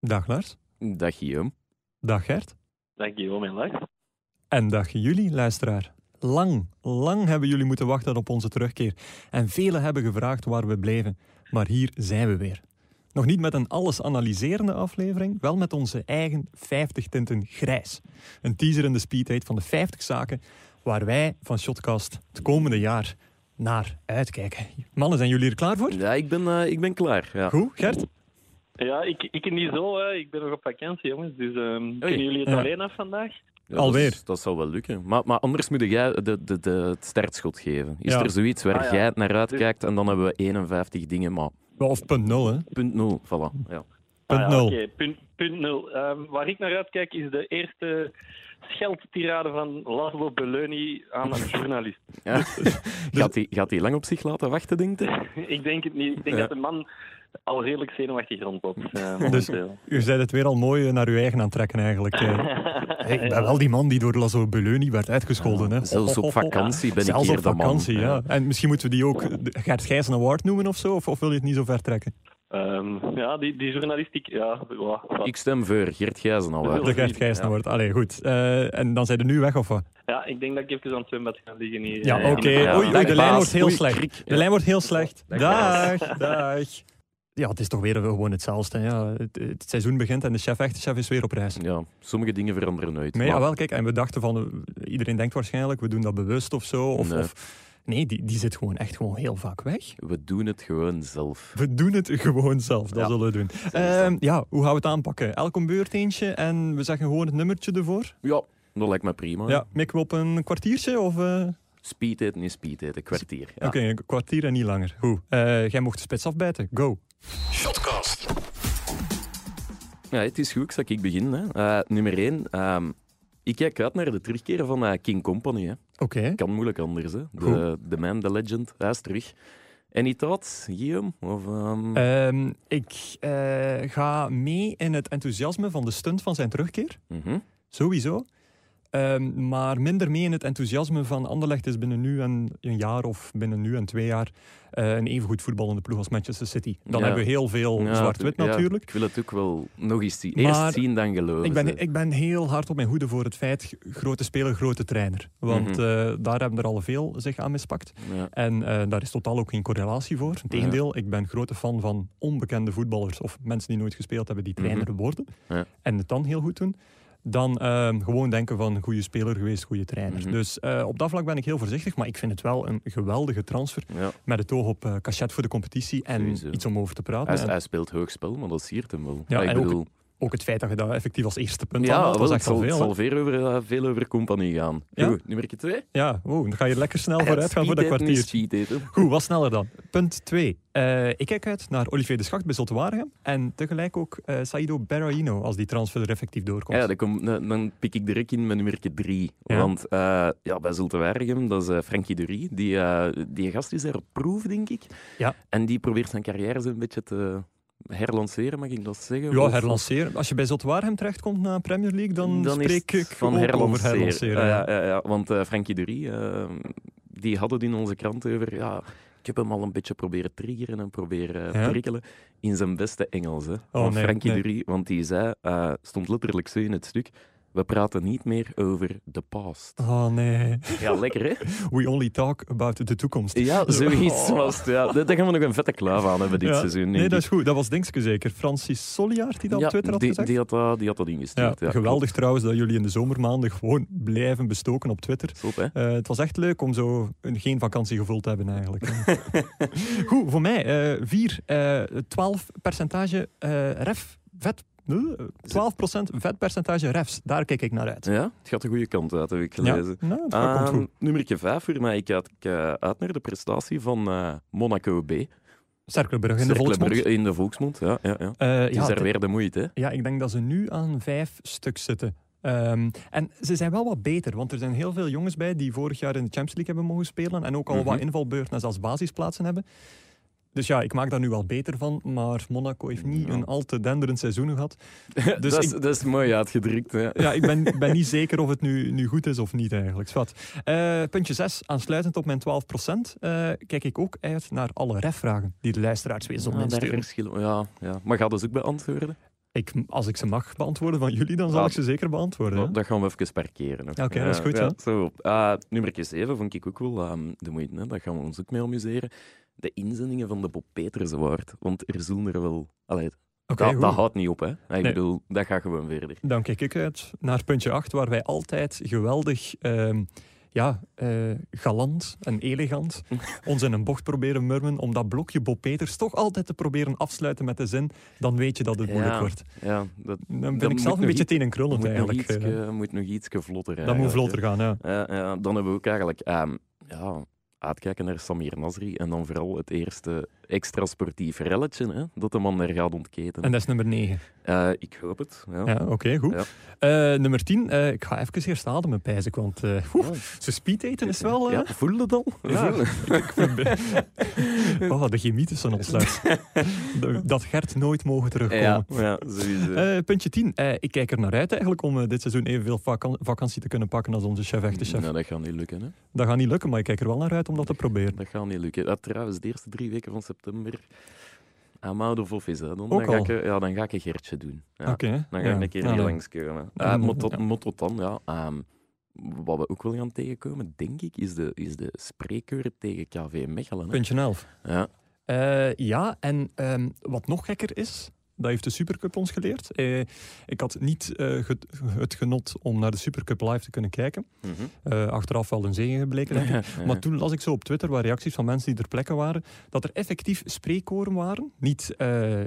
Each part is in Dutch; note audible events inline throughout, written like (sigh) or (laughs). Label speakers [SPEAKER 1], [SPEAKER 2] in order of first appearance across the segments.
[SPEAKER 1] Dag Lars.
[SPEAKER 2] Dag Guillaume.
[SPEAKER 1] Dag Gert.
[SPEAKER 3] Dag Guillaume en Lars.
[SPEAKER 1] En dag jullie, luisteraar. Lang, lang hebben jullie moeten wachten op onze terugkeer. En velen hebben gevraagd waar we bleven. Maar hier zijn we weer. Nog niet met een alles analyserende aflevering, wel met onze eigen 50 tinten grijs. Een teaser in de speeddate van de 50 zaken waar wij van Shotcast het komende jaar naar uitkijken. Mannen, zijn jullie er klaar voor?
[SPEAKER 2] Ja, ik ben, eh, ik ben klaar. Ja.
[SPEAKER 1] Goed, Gert?
[SPEAKER 3] Ja, ik, ik niet zo. Hè. Ik ben nog op vakantie, jongens. Dus ehm kunnen jullie het
[SPEAKER 1] Ja.
[SPEAKER 3] alleen af vandaag? Ah,
[SPEAKER 2] Ja,
[SPEAKER 1] Alweer.
[SPEAKER 2] Dat, is- dat zal wel lukken. Maar, maar anders moet jij de, de, de, het startschot geven. Is
[SPEAKER 1] Ja.
[SPEAKER 2] er zoiets waar
[SPEAKER 3] Ah, ja.
[SPEAKER 2] jij naar uitkijkt en dan hebben we 51 dingen, maar
[SPEAKER 1] Of punt nul, hè?
[SPEAKER 2] punt nul, voilà. Ja.
[SPEAKER 1] Punt
[SPEAKER 3] Ah ja,
[SPEAKER 1] nul.
[SPEAKER 3] Oké, punt, punt nul. Ehm, waar ik naar uitkijk is de eerste scheldtirade van Laszlo Belloni aan
[SPEAKER 1] (laughs)
[SPEAKER 3] een journalist.
[SPEAKER 2] Ja.
[SPEAKER 1] Dus-
[SPEAKER 2] (laughs) gaat, die, gaat die lang op zich laten wachten, denk je?
[SPEAKER 3] ik denk het niet. Ik denk
[SPEAKER 2] Ja.
[SPEAKER 3] dat de man al redelijk zenuwachtig rondloopt.
[SPEAKER 1] (laughs)
[SPEAKER 3] eh, momenteel.
[SPEAKER 1] U zei het weer al mooi eh, naar uw eigen aantrekken eigenlijk.
[SPEAKER 2] (laughs)
[SPEAKER 1] eh. Hey, ik ben wel die man die door Lasso Belloni werd uitgescholden. Hè.
[SPEAKER 2] Zelfs op vakantie ben
[SPEAKER 1] Zelfs
[SPEAKER 2] ik
[SPEAKER 1] op
[SPEAKER 2] hier de man.
[SPEAKER 1] vakantie, ja. En misschien moeten we die ook eh, de Gert Gijs een award noemen of zo? Of, of wil je het niet zo ver trekken?
[SPEAKER 3] Ehm, ja, die, die journalistiek. Ja, wa- wa-
[SPEAKER 2] Ik stem voor Gert Gijzen al
[SPEAKER 1] De
[SPEAKER 3] Of
[SPEAKER 1] Gert
[SPEAKER 3] niet,
[SPEAKER 1] Gijs
[SPEAKER 2] ja.
[SPEAKER 1] award. Allee, goed. Eh, en dan zijn we nu weg of wat?
[SPEAKER 3] ja, ik denk dat ik even aan het zwembad ga liggen hier.
[SPEAKER 1] Ja,
[SPEAKER 3] Eh,
[SPEAKER 1] oké.
[SPEAKER 3] in de-
[SPEAKER 2] ja.
[SPEAKER 1] Oei, oei, de
[SPEAKER 2] Dag,
[SPEAKER 1] lijn
[SPEAKER 2] baas.
[SPEAKER 1] wordt heel
[SPEAKER 2] Oei,
[SPEAKER 1] slecht.
[SPEAKER 2] krik.
[SPEAKER 1] De lijn wordt heel slecht.
[SPEAKER 2] Dag,
[SPEAKER 1] Dag, dag. Ja, het is toch weer gewoon hetzelfde. Ja. Het, het seizoen begint en de chef, echte chef, is weer op reis.
[SPEAKER 2] Ja, sommige dingen veranderen nooit.
[SPEAKER 1] Nee,
[SPEAKER 2] maar-
[SPEAKER 1] ja, wel, kijk, en we dachten van, eh, iedereen denkt waarschijnlijk, we doen dat bewust of zo. Of,
[SPEAKER 2] Nee.
[SPEAKER 1] Of, nee, die, die zit gewoon echt gewoon heel vaak weg.
[SPEAKER 2] We doen het gewoon zelf.
[SPEAKER 1] We doen het gewoon zelf, dat
[SPEAKER 2] Ja.
[SPEAKER 1] zullen we doen.
[SPEAKER 2] is
[SPEAKER 1] Ehm, ja, hoe gaan we het aanpakken? Elk een beurt eentje en we zeggen gewoon het nummertje ervoor.
[SPEAKER 2] Ja, dat lijkt me prima.
[SPEAKER 1] Ja, mikken we op een kwartiertje of... eh,
[SPEAKER 2] Speed eten is speed eten, kwartier. Ja.
[SPEAKER 1] Oké, een kwartier en niet langer. Goed, Eh, jij mocht de spits afbijten. Go.
[SPEAKER 2] Ja, het is goed, ik zal ik beginnen. Hè. Eh, nummer 1. ik kijk uit naar de terugkeer van eh, King Company. Hè.
[SPEAKER 1] Oké.
[SPEAKER 2] Kan moeilijk anders. Hè. De,
[SPEAKER 1] Goed.
[SPEAKER 2] de man, de legend, hij is terug. En iets dat, Guillaume? Of, ehm,
[SPEAKER 1] Ehm, ik eh, ga mee in het enthousiasme van de stunt van zijn terugkeer.
[SPEAKER 2] mhm.
[SPEAKER 1] Sowieso. Ehm, maar minder mee in het enthousiasme van Anderlecht is binnen nu en een jaar of binnen nu en twee jaar eh een evengoed voetballende ploeg als Manchester City. Dan
[SPEAKER 2] Ja.
[SPEAKER 1] hebben we heel veel
[SPEAKER 2] Ja,
[SPEAKER 1] oh, zwart-wit
[SPEAKER 2] ja,
[SPEAKER 1] natuurlijk.
[SPEAKER 2] Ik wil het ook wel nog eens zien.
[SPEAKER 1] Maar
[SPEAKER 2] Eerst zien, dan geloven.
[SPEAKER 1] Ik
[SPEAKER 2] ze.
[SPEAKER 1] ben, ik ben heel hard op mijn hoede voor het feit g- grote speler, grote trainer. Want
[SPEAKER 2] Mhm.
[SPEAKER 1] eh, daar hebben er al veel zich aan mispakt.
[SPEAKER 2] Ja.
[SPEAKER 1] En eh, daar is totaal ook geen correlatie voor. Integendeel, ik ben grote fan van onbekende voetballers of mensen die nooit gespeeld hebben, die trainer worden
[SPEAKER 2] Mhm. Ja.
[SPEAKER 1] en het dan heel goed doen. Dan eh, gewoon denken van goede speler geweest, goede trainer.
[SPEAKER 2] Mhm.
[SPEAKER 1] Dus eh, op dat vlak ben ik heel voorzichtig, maar ik vind het wel een geweldige transfer.
[SPEAKER 2] Ja.
[SPEAKER 1] Met het oog op eh, cachet voor de competitie en
[SPEAKER 2] Sowieso.
[SPEAKER 1] iets om over te praten.
[SPEAKER 2] Hij,
[SPEAKER 1] En
[SPEAKER 2] hij speelt hoogspel, maar dat siert hem wel.
[SPEAKER 1] Ja,
[SPEAKER 2] ik
[SPEAKER 1] en ook
[SPEAKER 2] bedoel,
[SPEAKER 1] ook het feit dat je dat effectief als eerste punt
[SPEAKER 2] ja,
[SPEAKER 1] aanhaalt,
[SPEAKER 2] wel,
[SPEAKER 1] was
[SPEAKER 2] het
[SPEAKER 1] echt
[SPEAKER 2] zal,
[SPEAKER 1] al
[SPEAKER 2] het
[SPEAKER 1] veel. hè.
[SPEAKER 2] zal veel, over, eh, veel over compagnie gaan.
[SPEAKER 1] Ja?
[SPEAKER 2] Goed, nummer 2.
[SPEAKER 1] Ja, wow, dan ga je lekker snel vooruit gaan voor dat kwartier.
[SPEAKER 2] Speed eten.
[SPEAKER 1] Goed, wat sneller dan. Punt 2. ik kijk uit naar Olivier de Schacht bij Zotwaardigem en tegelijk ook eh Saido Berraino als die transfer er effectief doorkomt.
[SPEAKER 2] Ja, dan, kom, dan, dan pik ik direct in met nummer 3.
[SPEAKER 1] Ja.
[SPEAKER 2] Want eh, ja, bij Zulte Waregem, dat is eh, Frankie de Rie. Die, eh, die gast is daar op proef, denk ik.
[SPEAKER 1] Ja.
[SPEAKER 2] En die probeert zijn carrière zo'n beetje te herlanceren, mag ik dat zeggen?
[SPEAKER 1] Ja,
[SPEAKER 2] Of-
[SPEAKER 1] herlanceren. Als je bij Zotwaardigem terechtkomt na Premier League, dan,
[SPEAKER 2] Dan is
[SPEAKER 1] spreek
[SPEAKER 2] het
[SPEAKER 1] ik ook over herlanceren.
[SPEAKER 2] Ah,
[SPEAKER 1] ja.
[SPEAKER 2] ja, ja, ja, want eh, Frankie de Rie, eh, die had het in onze krant over... Ja, ik heb hem al een beetje proberen triggeren en proberen eh,
[SPEAKER 1] Ja? Oh,
[SPEAKER 2] prikkelen. In zijn beste Engels, hè. van
[SPEAKER 1] nee,
[SPEAKER 2] Frankie
[SPEAKER 1] nee.
[SPEAKER 2] de Rie. Want die zei, eh, stond letterlijk zo in het stuk... We praten niet meer over de
[SPEAKER 1] (laughs)
[SPEAKER 2] past.
[SPEAKER 1] Oh nee,
[SPEAKER 2] Ja, lekker
[SPEAKER 1] (laughs)
[SPEAKER 2] hè?
[SPEAKER 1] we only talk about de toekomst. (laughs)
[SPEAKER 2] Ja, zoiets
[SPEAKER 1] Oh.
[SPEAKER 2] was het. Ja. Daar daar gaan we nog een vette kluif aan hebben dit
[SPEAKER 1] Ja.
[SPEAKER 2] seizoen.
[SPEAKER 1] Nee,
[SPEAKER 2] denk
[SPEAKER 1] dat
[SPEAKER 2] ik.
[SPEAKER 1] is goed. Dat was Dingske zeker. Francis Solliaard die dat
[SPEAKER 2] Ja,
[SPEAKER 1] op Twitter had
[SPEAKER 2] die,
[SPEAKER 1] gezegd.
[SPEAKER 2] Die had, dat- die had dat
[SPEAKER 1] ja,
[SPEAKER 2] ingestuurd. Ja,
[SPEAKER 1] geweldig trouwens dat jullie in de zomermaanden gewoon blijven bestoken op Twitter. (laughs)
[SPEAKER 2] klopt. Top, hè?
[SPEAKER 1] Eh, het was echt leuk om zo een, geen vakantiegevoel te hebben eigenlijk. Goed, voor mij eh, vier, eh 12 percentage eh, ref, vet, nul, eh, 12% vetpercentage refs. Daar kijk ik naar uit.
[SPEAKER 2] Ja, het gaat de goede kant uit, heb ik Ehm,
[SPEAKER 1] Ja,
[SPEAKER 2] gelezen.
[SPEAKER 1] nou, dat
[SPEAKER 2] Ah,
[SPEAKER 1] komt goed.
[SPEAKER 2] nummer 5 voor mij. Ik kijk eh, uit naar de prestatie van eh, Monaco B.
[SPEAKER 1] Cercle Brugge in de
[SPEAKER 2] Cercle
[SPEAKER 1] volksmond.
[SPEAKER 2] Brugge in de volksmond. Ja, ja, ja.
[SPEAKER 1] Eh,
[SPEAKER 2] Het
[SPEAKER 1] ja,
[SPEAKER 2] is daar
[SPEAKER 1] de-
[SPEAKER 2] weer de moeite. Hè?
[SPEAKER 1] ja, ik denk dat ze nu aan vijf stuk zitten. Ehm, en ze zijn wel wat beter, want er zijn heel veel jongens bij die vorig jaar in de Champions League hebben mogen spelen en ook al wat
[SPEAKER 2] Mhm.
[SPEAKER 1] invalbeurten en zelfs basisplaatsen hebben. Dus ja, ik maak daar nu wel beter van, maar Monaco heeft niet
[SPEAKER 2] Ja.
[SPEAKER 1] een al te denderend seizoen gehad. (laughs) Dus
[SPEAKER 2] dat, is,
[SPEAKER 1] ik-
[SPEAKER 2] dat is mooi uitgedrukt. Hè?
[SPEAKER 1] Ja, ik (laughs) ben, ik ben niet zeker of het nu, nu goed is of niet eigenlijk. Zwat. Eh, puntje 6, aansluitend op mijn 12%, eh, kijk ik ook uit naar alle refvragen die de luisteraars weer
[SPEAKER 2] Ja,
[SPEAKER 1] zullen
[SPEAKER 2] Ah, daar
[SPEAKER 1] insturen.
[SPEAKER 2] dus verschillen we- ja, ja. Maar gaat dat ook beantwoorden?
[SPEAKER 1] Ik, als ik ze mag beantwoorden van jullie, dan zal
[SPEAKER 2] Ja.
[SPEAKER 1] ik ze zeker beantwoorden.
[SPEAKER 2] Oh,
[SPEAKER 1] hè?
[SPEAKER 2] dat gaan we even parkeren.
[SPEAKER 1] Oké, dat is goed,
[SPEAKER 2] Ja,
[SPEAKER 1] ja.
[SPEAKER 2] zo. Eh, nummer 7 vond ik ook wel ehm, de moeite. Hè? Daar gaan we ons ook mee amuseren. De inzendingen van de Bob Peters Award. Want er zullen er wel... Allee,
[SPEAKER 1] Oké,
[SPEAKER 2] dat,
[SPEAKER 1] goed.
[SPEAKER 2] dat houdt niet op, hè. Ik
[SPEAKER 1] Nee.
[SPEAKER 2] bedoel, dat gaat gewoon
[SPEAKER 1] (laughs)
[SPEAKER 2] verder.
[SPEAKER 1] Dan kijk ik uit naar puntje 8, waar wij altijd geweldig ehm, ja, eh, galant en elegant ons in een bocht proberen murmen om dat blokje Bob Peters toch altijd te proberen afsluiten met de zin dan weet je dat het moeilijk
[SPEAKER 2] Ja,
[SPEAKER 1] wordt.
[SPEAKER 2] Ja, dat
[SPEAKER 1] Dan ben
[SPEAKER 2] dat
[SPEAKER 1] ik zelf
[SPEAKER 2] moet
[SPEAKER 1] een
[SPEAKER 2] nog
[SPEAKER 1] beetje
[SPEAKER 2] iets-
[SPEAKER 1] tenenkrullend
[SPEAKER 2] moet nog,
[SPEAKER 1] eigenlijk.
[SPEAKER 2] ietske,
[SPEAKER 1] eh.
[SPEAKER 2] moet nog iets vlotter.
[SPEAKER 1] dat moet vlotter gaan, ja.
[SPEAKER 2] Ja, ja, dan hebben we ook eigenlijk ehm, ja, uitkijken naar Samir Nasri en dan vooral het eerste extra sportief relletje hè, dat de man er gaat ontketen.
[SPEAKER 1] En dat is nummer 9.
[SPEAKER 2] Eh, ik hoop het. Ja.
[SPEAKER 1] Ja, oké, goed.
[SPEAKER 2] Ja.
[SPEAKER 1] Eh, nummer 10, eh, ik ga even eerst ademen, pijs ik, want eh oeh, ze speed eten is wel... eh,
[SPEAKER 2] Ja, voel het al?
[SPEAKER 1] Ja.
[SPEAKER 2] Voel-
[SPEAKER 1] Ik probeer- (laughs) oh, de chemie tussen ons
[SPEAKER 2] (laughs)
[SPEAKER 1] thuis. Dat Gert nooit mogen terugkomen.
[SPEAKER 2] ja, ja, sowieso.
[SPEAKER 1] Eh, puntje 10. Eh, ik kijk er naar uit eigenlijk om eh, dit seizoen evenveel vakan- vakantie te kunnen pakken als onze chef echte chef.
[SPEAKER 2] Nou, dat gaat niet lukken, hè.
[SPEAKER 1] Dat gaat niet lukken, maar ik kijk er wel naar uit om dat te proberen.
[SPEAKER 2] Dat gaat niet lukken. Dat trouwens, de eerste drie weken van september... Ah, I'm out of office, hè.
[SPEAKER 1] Ook
[SPEAKER 2] Dan, dan, ga,
[SPEAKER 1] al.
[SPEAKER 2] ik, eh, ja, dan ga ik een Gertje doen. Ja.
[SPEAKER 1] Oké.
[SPEAKER 2] Dan ga
[SPEAKER 1] ja.
[SPEAKER 2] ik een keer
[SPEAKER 1] Ja,
[SPEAKER 2] hier
[SPEAKER 1] nee.
[SPEAKER 2] langs komen.
[SPEAKER 1] Ja,
[SPEAKER 2] Eh,
[SPEAKER 1] nee,
[SPEAKER 2] maar tot,
[SPEAKER 1] ja.
[SPEAKER 2] maar tot dan, ja. ehm, wat we ook wel gaan tegenkomen, denk ik, is de, is de spreekuur tegen KV Mechelen. hè.
[SPEAKER 1] Puntje 11.
[SPEAKER 2] Ja.
[SPEAKER 1] Eh, ja, en ehm, wat nog gekker is, dat heeft de Supercup ons geleerd. Eh, ik had niet eh, ge- het genot om naar de Supercup live te kunnen kijken. (laughs)
[SPEAKER 2] Mhm.
[SPEAKER 1] Eh, achteraf wel een zegen gebleken,
[SPEAKER 2] (laughs)
[SPEAKER 1] denk ik. Maar toen las ik zo op Twitter wat reacties van mensen die er plekken waren, dat er effectief spreekkoren waren, niet eh, eh,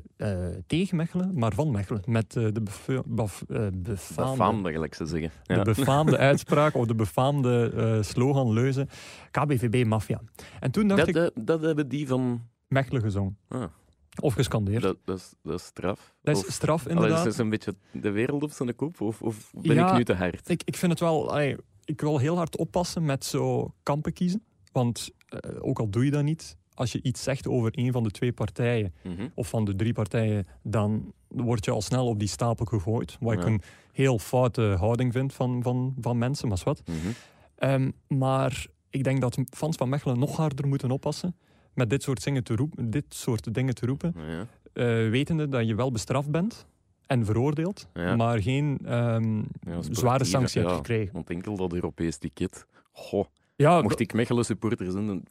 [SPEAKER 1] tegen Mechelen, maar van Mechelen, met eh, de bef- baf- eh, befaamde,
[SPEAKER 2] Befaamd, eigenlijk ze zeggen. Ja.
[SPEAKER 1] de befaamde uitspraak of de befaamde eh, slogan, leuze, KBVB Mafia. En toen dacht
[SPEAKER 2] Dat,
[SPEAKER 1] ik,
[SPEAKER 2] dat, dat hebben die van...
[SPEAKER 1] Mechelen gezongen.
[SPEAKER 2] Ah.
[SPEAKER 1] Of gescandeerd. Dat,
[SPEAKER 2] Dat, dat, is, dat is straf. Of-
[SPEAKER 1] is straf,
[SPEAKER 2] Allee, dus
[SPEAKER 1] inderdaad.
[SPEAKER 2] is het een beetje de wereld op zijn kop? Of, of ben
[SPEAKER 1] Ja,
[SPEAKER 2] ik nu te hard?
[SPEAKER 1] Ik, ik vind het wel... allee, ik wil heel hard oppassen met zo kampen kiezen, want eh, ook al doe je dat niet... Als je iets zegt over een van de twee partijen,
[SPEAKER 2] Mhm.
[SPEAKER 1] of van de drie partijen, dan word je al snel op die stapel gegooid. Wat ik
[SPEAKER 2] Ja.
[SPEAKER 1] een heel foute houding vind van, van, van mensen, maar is wat.
[SPEAKER 2] Mhm.
[SPEAKER 1] Ehm, maar ik denk dat fans van Mechelen nog harder moeten oppassen met dit soort, zingen te roepen, dit soort dingen te roepen,
[SPEAKER 2] Ja.
[SPEAKER 1] eh, wetende dat je wel bestraft bent en veroordeeld,
[SPEAKER 2] Ja.
[SPEAKER 1] maar geen ehm, zware
[SPEAKER 2] sportief,
[SPEAKER 1] sanctie hebt
[SPEAKER 2] ja.
[SPEAKER 1] gekregen. Ah,
[SPEAKER 2] Want enkel dat Europees ticket. Goh,
[SPEAKER 1] Ja,
[SPEAKER 2] mocht ik Mechelen supporter zijn, dan,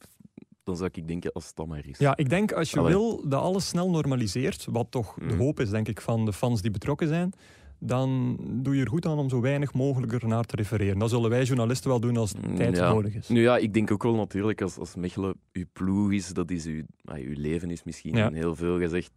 [SPEAKER 2] dan zou ik denken als het dan maar is.
[SPEAKER 1] Ja, ik denk als je
[SPEAKER 2] Allee.
[SPEAKER 1] wil dat alles snel normaliseert, wat toch de
[SPEAKER 2] Mm.
[SPEAKER 1] hoop is, denk ik, van de fans die betrokken zijn, dan doe je er goed aan om zo weinig mogelijk ernaar te refereren. Dat zullen wij journalisten wel doen als
[SPEAKER 2] Mm,
[SPEAKER 1] tijd
[SPEAKER 2] ja.
[SPEAKER 1] nodig is.
[SPEAKER 2] Nu ja, ik denk ook wel natuurlijk als, als Mechelen uw ploeg is, dat is uw, ah, uw leven is misschien
[SPEAKER 1] Ja.
[SPEAKER 2] heel veel gezegd,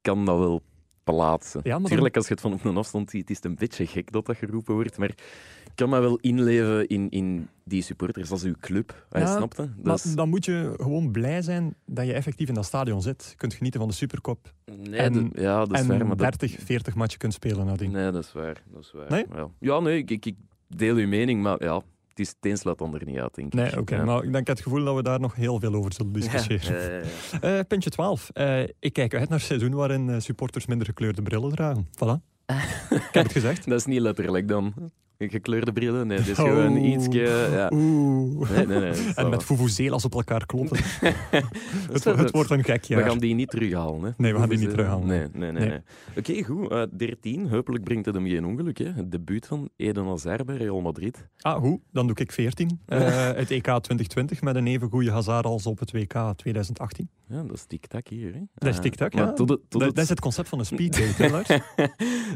[SPEAKER 2] kan dat wel plaatsen.
[SPEAKER 1] Ja, maar dan-
[SPEAKER 2] Tuurlijk, als je het van op een afstand ziet, is het een beetje gek dat dat geroepen wordt, maar ik kan me wel inleven in, in die supporters als uw club. Hij
[SPEAKER 1] Ja,
[SPEAKER 2] snapt hè?
[SPEAKER 1] Maar
[SPEAKER 2] Dus,
[SPEAKER 1] dan moet je gewoon blij zijn dat je effectief in dat stadion zit, kunt genieten van de Supercup
[SPEAKER 2] nee,
[SPEAKER 1] en-
[SPEAKER 2] dat- ja, dat is
[SPEAKER 1] en
[SPEAKER 2] waar, maar dat,
[SPEAKER 1] 30, 40 matchen kunt spelen nadien.
[SPEAKER 2] Nee, dat is waar. Dat is waar.
[SPEAKER 1] Nee?
[SPEAKER 2] Ja, ja nee, ik, ik, ik deel uw mening, maar ja, het is het een slaat het ander niet uit, denk ik.
[SPEAKER 1] Nee, oké,
[SPEAKER 2] Ja.
[SPEAKER 1] maar ik denk het gevoel dat we daar nog heel veel over zullen discussiëren.
[SPEAKER 2] Ja, ja, ja, ja.
[SPEAKER 1] Eh, puntje 12. Eh, ik kijk uit naar het seizoen waarin eh, supporters minder gekleurde brillen dragen. Voilà. (laughs) ik heb het gezegd.
[SPEAKER 2] (laughs) Dat is niet letterlijk dan. Gekleurde brillen? Nee, dat is
[SPEAKER 1] Oh.
[SPEAKER 2] gewoon ietsje... Ja.
[SPEAKER 1] Oeh.
[SPEAKER 2] Nee, nee, nee. dat
[SPEAKER 1] (laughs) En
[SPEAKER 2] zal
[SPEAKER 1] met vuvuzelas op elkaar
[SPEAKER 2] (laughs)
[SPEAKER 1] kloppen.
[SPEAKER 2] wel.
[SPEAKER 1] het, het wordt een gek
[SPEAKER 2] (laughs) We
[SPEAKER 1] jaar.
[SPEAKER 2] gaan die niet terughalen. Hè.
[SPEAKER 1] Nee, we gaan die
[SPEAKER 2] Dus,
[SPEAKER 1] niet
[SPEAKER 2] eh,
[SPEAKER 1] terughalen.
[SPEAKER 2] Nee, nee, nee.
[SPEAKER 1] Nee.
[SPEAKER 2] nee. Oké, goed. eh, 13. Hopelijk brengt het hem geen ongeluk. Hè. Het debuut van Eden Hazard bij Real Madrid.
[SPEAKER 1] Ah, hoe? Dan doe ik 14. Eh,
[SPEAKER 2] (laughs)
[SPEAKER 1] het EK 2020 met een even goede hazard als op het WK 2018.
[SPEAKER 2] Ja, dat is tik-tak hier. Hè.
[SPEAKER 1] Dat is
[SPEAKER 2] Ah,
[SPEAKER 1] tik-tak,
[SPEAKER 2] maar
[SPEAKER 1] ja.
[SPEAKER 2] Tot het, tot
[SPEAKER 1] Dat,
[SPEAKER 2] het-
[SPEAKER 1] dat is het concept van een
[SPEAKER 2] (laughs)
[SPEAKER 1] speeddate, hè, Lars?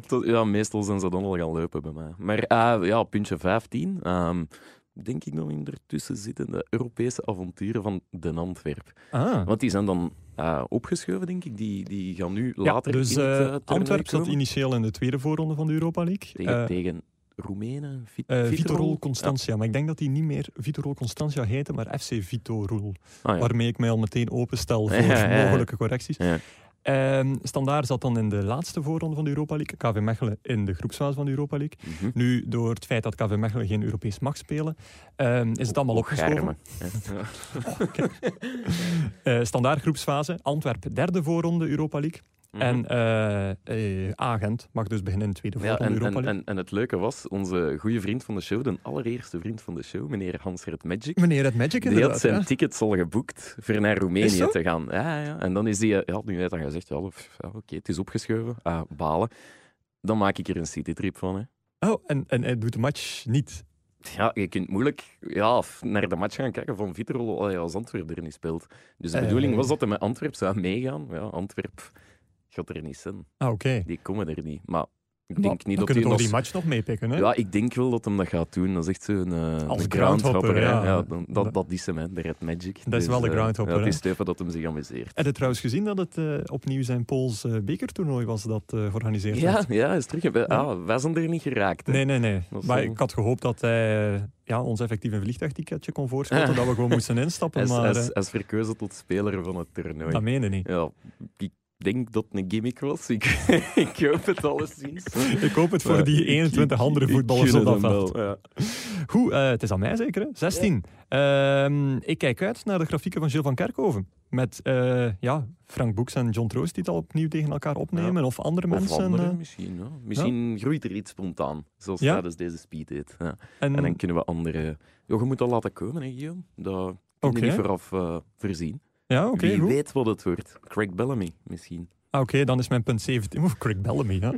[SPEAKER 2] Tot- ja, meestal zijn ze dan al gaan lopen bij mij. Maar eh, ja, puntje 15. ehm, denk ik nog in ertussen zitten de Europese avonturen van Den Antwerp.
[SPEAKER 1] Ah.
[SPEAKER 2] Want die zijn dan eh, opgeschoven, denk ik. Die, die gaan nu
[SPEAKER 1] Ja,
[SPEAKER 2] later
[SPEAKER 1] dus
[SPEAKER 2] in het eh,
[SPEAKER 1] eh,
[SPEAKER 2] toernooi
[SPEAKER 1] Antwerp zat
[SPEAKER 2] komen.
[SPEAKER 1] initieel in de tweede voorronde van de Europa League.
[SPEAKER 2] Tegen,
[SPEAKER 1] Eh
[SPEAKER 2] tegen Roemenen? Vi
[SPEAKER 1] eh,
[SPEAKER 2] Vitorol?
[SPEAKER 1] Vitorol Constantia. Maar ik denk dat die niet meer Vitorol Constantia heette, maar FC Vitorol.
[SPEAKER 2] Ja. Ah, ja.
[SPEAKER 1] Waarmee ik mij al meteen
[SPEAKER 2] (laughs)
[SPEAKER 1] openstel voor
[SPEAKER 2] Ja, ja, ja.
[SPEAKER 1] mogelijke correcties.
[SPEAKER 2] Ja.
[SPEAKER 1] Ehm Standaard zat dan in de laatste voorronde van de Europa League. KV Mechelen in de groepsfase van de Europa League.
[SPEAKER 2] Mhm.
[SPEAKER 1] Nu, door het feit dat KV Mechelen geen Europees mag spelen, ehm, is het allemaal
[SPEAKER 2] Ook
[SPEAKER 1] opgeschoven.
[SPEAKER 2] Germen,
[SPEAKER 1] (laughs)
[SPEAKER 2] hè. Ja.
[SPEAKER 1] Eh standaard groepsfase, Antwerpen derde voorronde Europa League.
[SPEAKER 2] Mhm.
[SPEAKER 1] En eh, eh, Agent mag dus beginnen in de tweede
[SPEAKER 2] Ja,
[SPEAKER 1] ronde van de
[SPEAKER 2] en,
[SPEAKER 1] Europa
[SPEAKER 2] en,
[SPEAKER 1] League.
[SPEAKER 2] en, en het leuke was, onze goede vriend van de show, de allereerste vriend van de show, meneer Hans-Gert Magic,
[SPEAKER 1] Meneer het Magic
[SPEAKER 2] die had
[SPEAKER 1] inderdaad.
[SPEAKER 2] zijn
[SPEAKER 1] ja.
[SPEAKER 2] tickets al geboekt voor naar
[SPEAKER 1] Is
[SPEAKER 2] Roemenië
[SPEAKER 1] zo?
[SPEAKER 2] te gaan. Ja, ja. En dan is die, eh, ja, nu net dan gezegd, ja, pff, ja, oké, het is opgeschoven, ah, balen. Dan maak ik er een citytrip van. Hè.
[SPEAKER 1] Oh, en, en hij doet de match niet.
[SPEAKER 2] Ja, je kunt moeilijk ja, f- naar de match gaan kijken van Vitrol allee, als Antwerp er niet speelt. Dus de
[SPEAKER 1] Eh.
[SPEAKER 2] bedoeling was dat hij met Antwerp zou meegaan. Ja, Antwerp gaat er niet zijn.
[SPEAKER 1] Ah, oké.
[SPEAKER 2] Die komen er niet. Maar ik
[SPEAKER 1] Maar
[SPEAKER 2] denk niet
[SPEAKER 1] dan
[SPEAKER 2] dat
[SPEAKER 1] kunnen
[SPEAKER 2] hij
[SPEAKER 1] toch
[SPEAKER 2] nog...
[SPEAKER 1] die match nog meepikken, hè?
[SPEAKER 2] Ja, ik denk wel dat hem dat gaat doen. Dat is echt zo'n eh,
[SPEAKER 1] Als
[SPEAKER 2] een
[SPEAKER 1] groundhopper,
[SPEAKER 2] hè.
[SPEAKER 1] ja.
[SPEAKER 2] dan- dat, dat is hem, hè, de Red Magic.
[SPEAKER 1] Dat is wel de
[SPEAKER 2] eh,
[SPEAKER 1] groundhopper,
[SPEAKER 2] Ja, het
[SPEAKER 1] hè.
[SPEAKER 2] is Stefan dat hem zich amuseert.
[SPEAKER 1] Heb je trouwens gezien dat het eh, opnieuw zijn Pools eh, bekertoernooi was dat eh, georganiseerd
[SPEAKER 2] Ja,
[SPEAKER 1] werd?
[SPEAKER 2] ja, is terug. We- Ah, wij zijn er niet geraakt. hè.
[SPEAKER 1] Nee, nee, nee.
[SPEAKER 2] Dat is
[SPEAKER 1] Maar
[SPEAKER 2] wel-
[SPEAKER 1] ik had gehoopt dat hij eh, ja, ons effectief een vliegtuigticketje kon voorschotten,
[SPEAKER 2] Ah.
[SPEAKER 1] dat we gewoon moesten instappen,
[SPEAKER 2] (laughs) Hij is- hij
[SPEAKER 1] maar
[SPEAKER 2] is-
[SPEAKER 1] eh,
[SPEAKER 2] hij is verkozen tot speler van het toernooi.
[SPEAKER 1] dat meende niet.
[SPEAKER 2] Ja, ik denk dat het een gimmick was. Ik, (laughs) ik hoop het (laughs) alleszins.
[SPEAKER 1] Ik hoop het voor
[SPEAKER 2] Maar
[SPEAKER 1] die
[SPEAKER 2] ik-
[SPEAKER 1] 21
[SPEAKER 2] ik-
[SPEAKER 1] andere
[SPEAKER 2] ik
[SPEAKER 1] voetballers
[SPEAKER 2] gun
[SPEAKER 1] op dat
[SPEAKER 2] het hem
[SPEAKER 1] veld.
[SPEAKER 2] wel, ja.
[SPEAKER 1] Goed, eh, het is aan mij zeker, hè? 16. Ehm, ik kijk uit naar de grafieken van Gilles van Kerkhoven. Met eh, ja, Frank Boeks en John Troost die het al opnieuw tegen elkaar opnemen. Of andere
[SPEAKER 2] Of
[SPEAKER 1] mensen.
[SPEAKER 2] anderen
[SPEAKER 1] eh,
[SPEAKER 2] misschien. Ja. Misschien groeit er iets spontaan, zoals
[SPEAKER 1] Ja? Mm.
[SPEAKER 2] tijdens deze speed date. Ja.
[SPEAKER 1] eh, en,
[SPEAKER 2] En dan kunnen we anderen... Ja, je moet dat laten komen, hè, Guillaume. Dat kun je
[SPEAKER 1] Oké.
[SPEAKER 2] niet vooraf eh, voorzien.
[SPEAKER 1] ja, oké,
[SPEAKER 2] Wie
[SPEAKER 1] goed.
[SPEAKER 2] weet wat het wordt. Craig Bellamy, misschien.
[SPEAKER 1] Ah, oké, dan is mijn punt 17... Oeh, Craig Bellamy,
[SPEAKER 2] (laughs)
[SPEAKER 1] ja.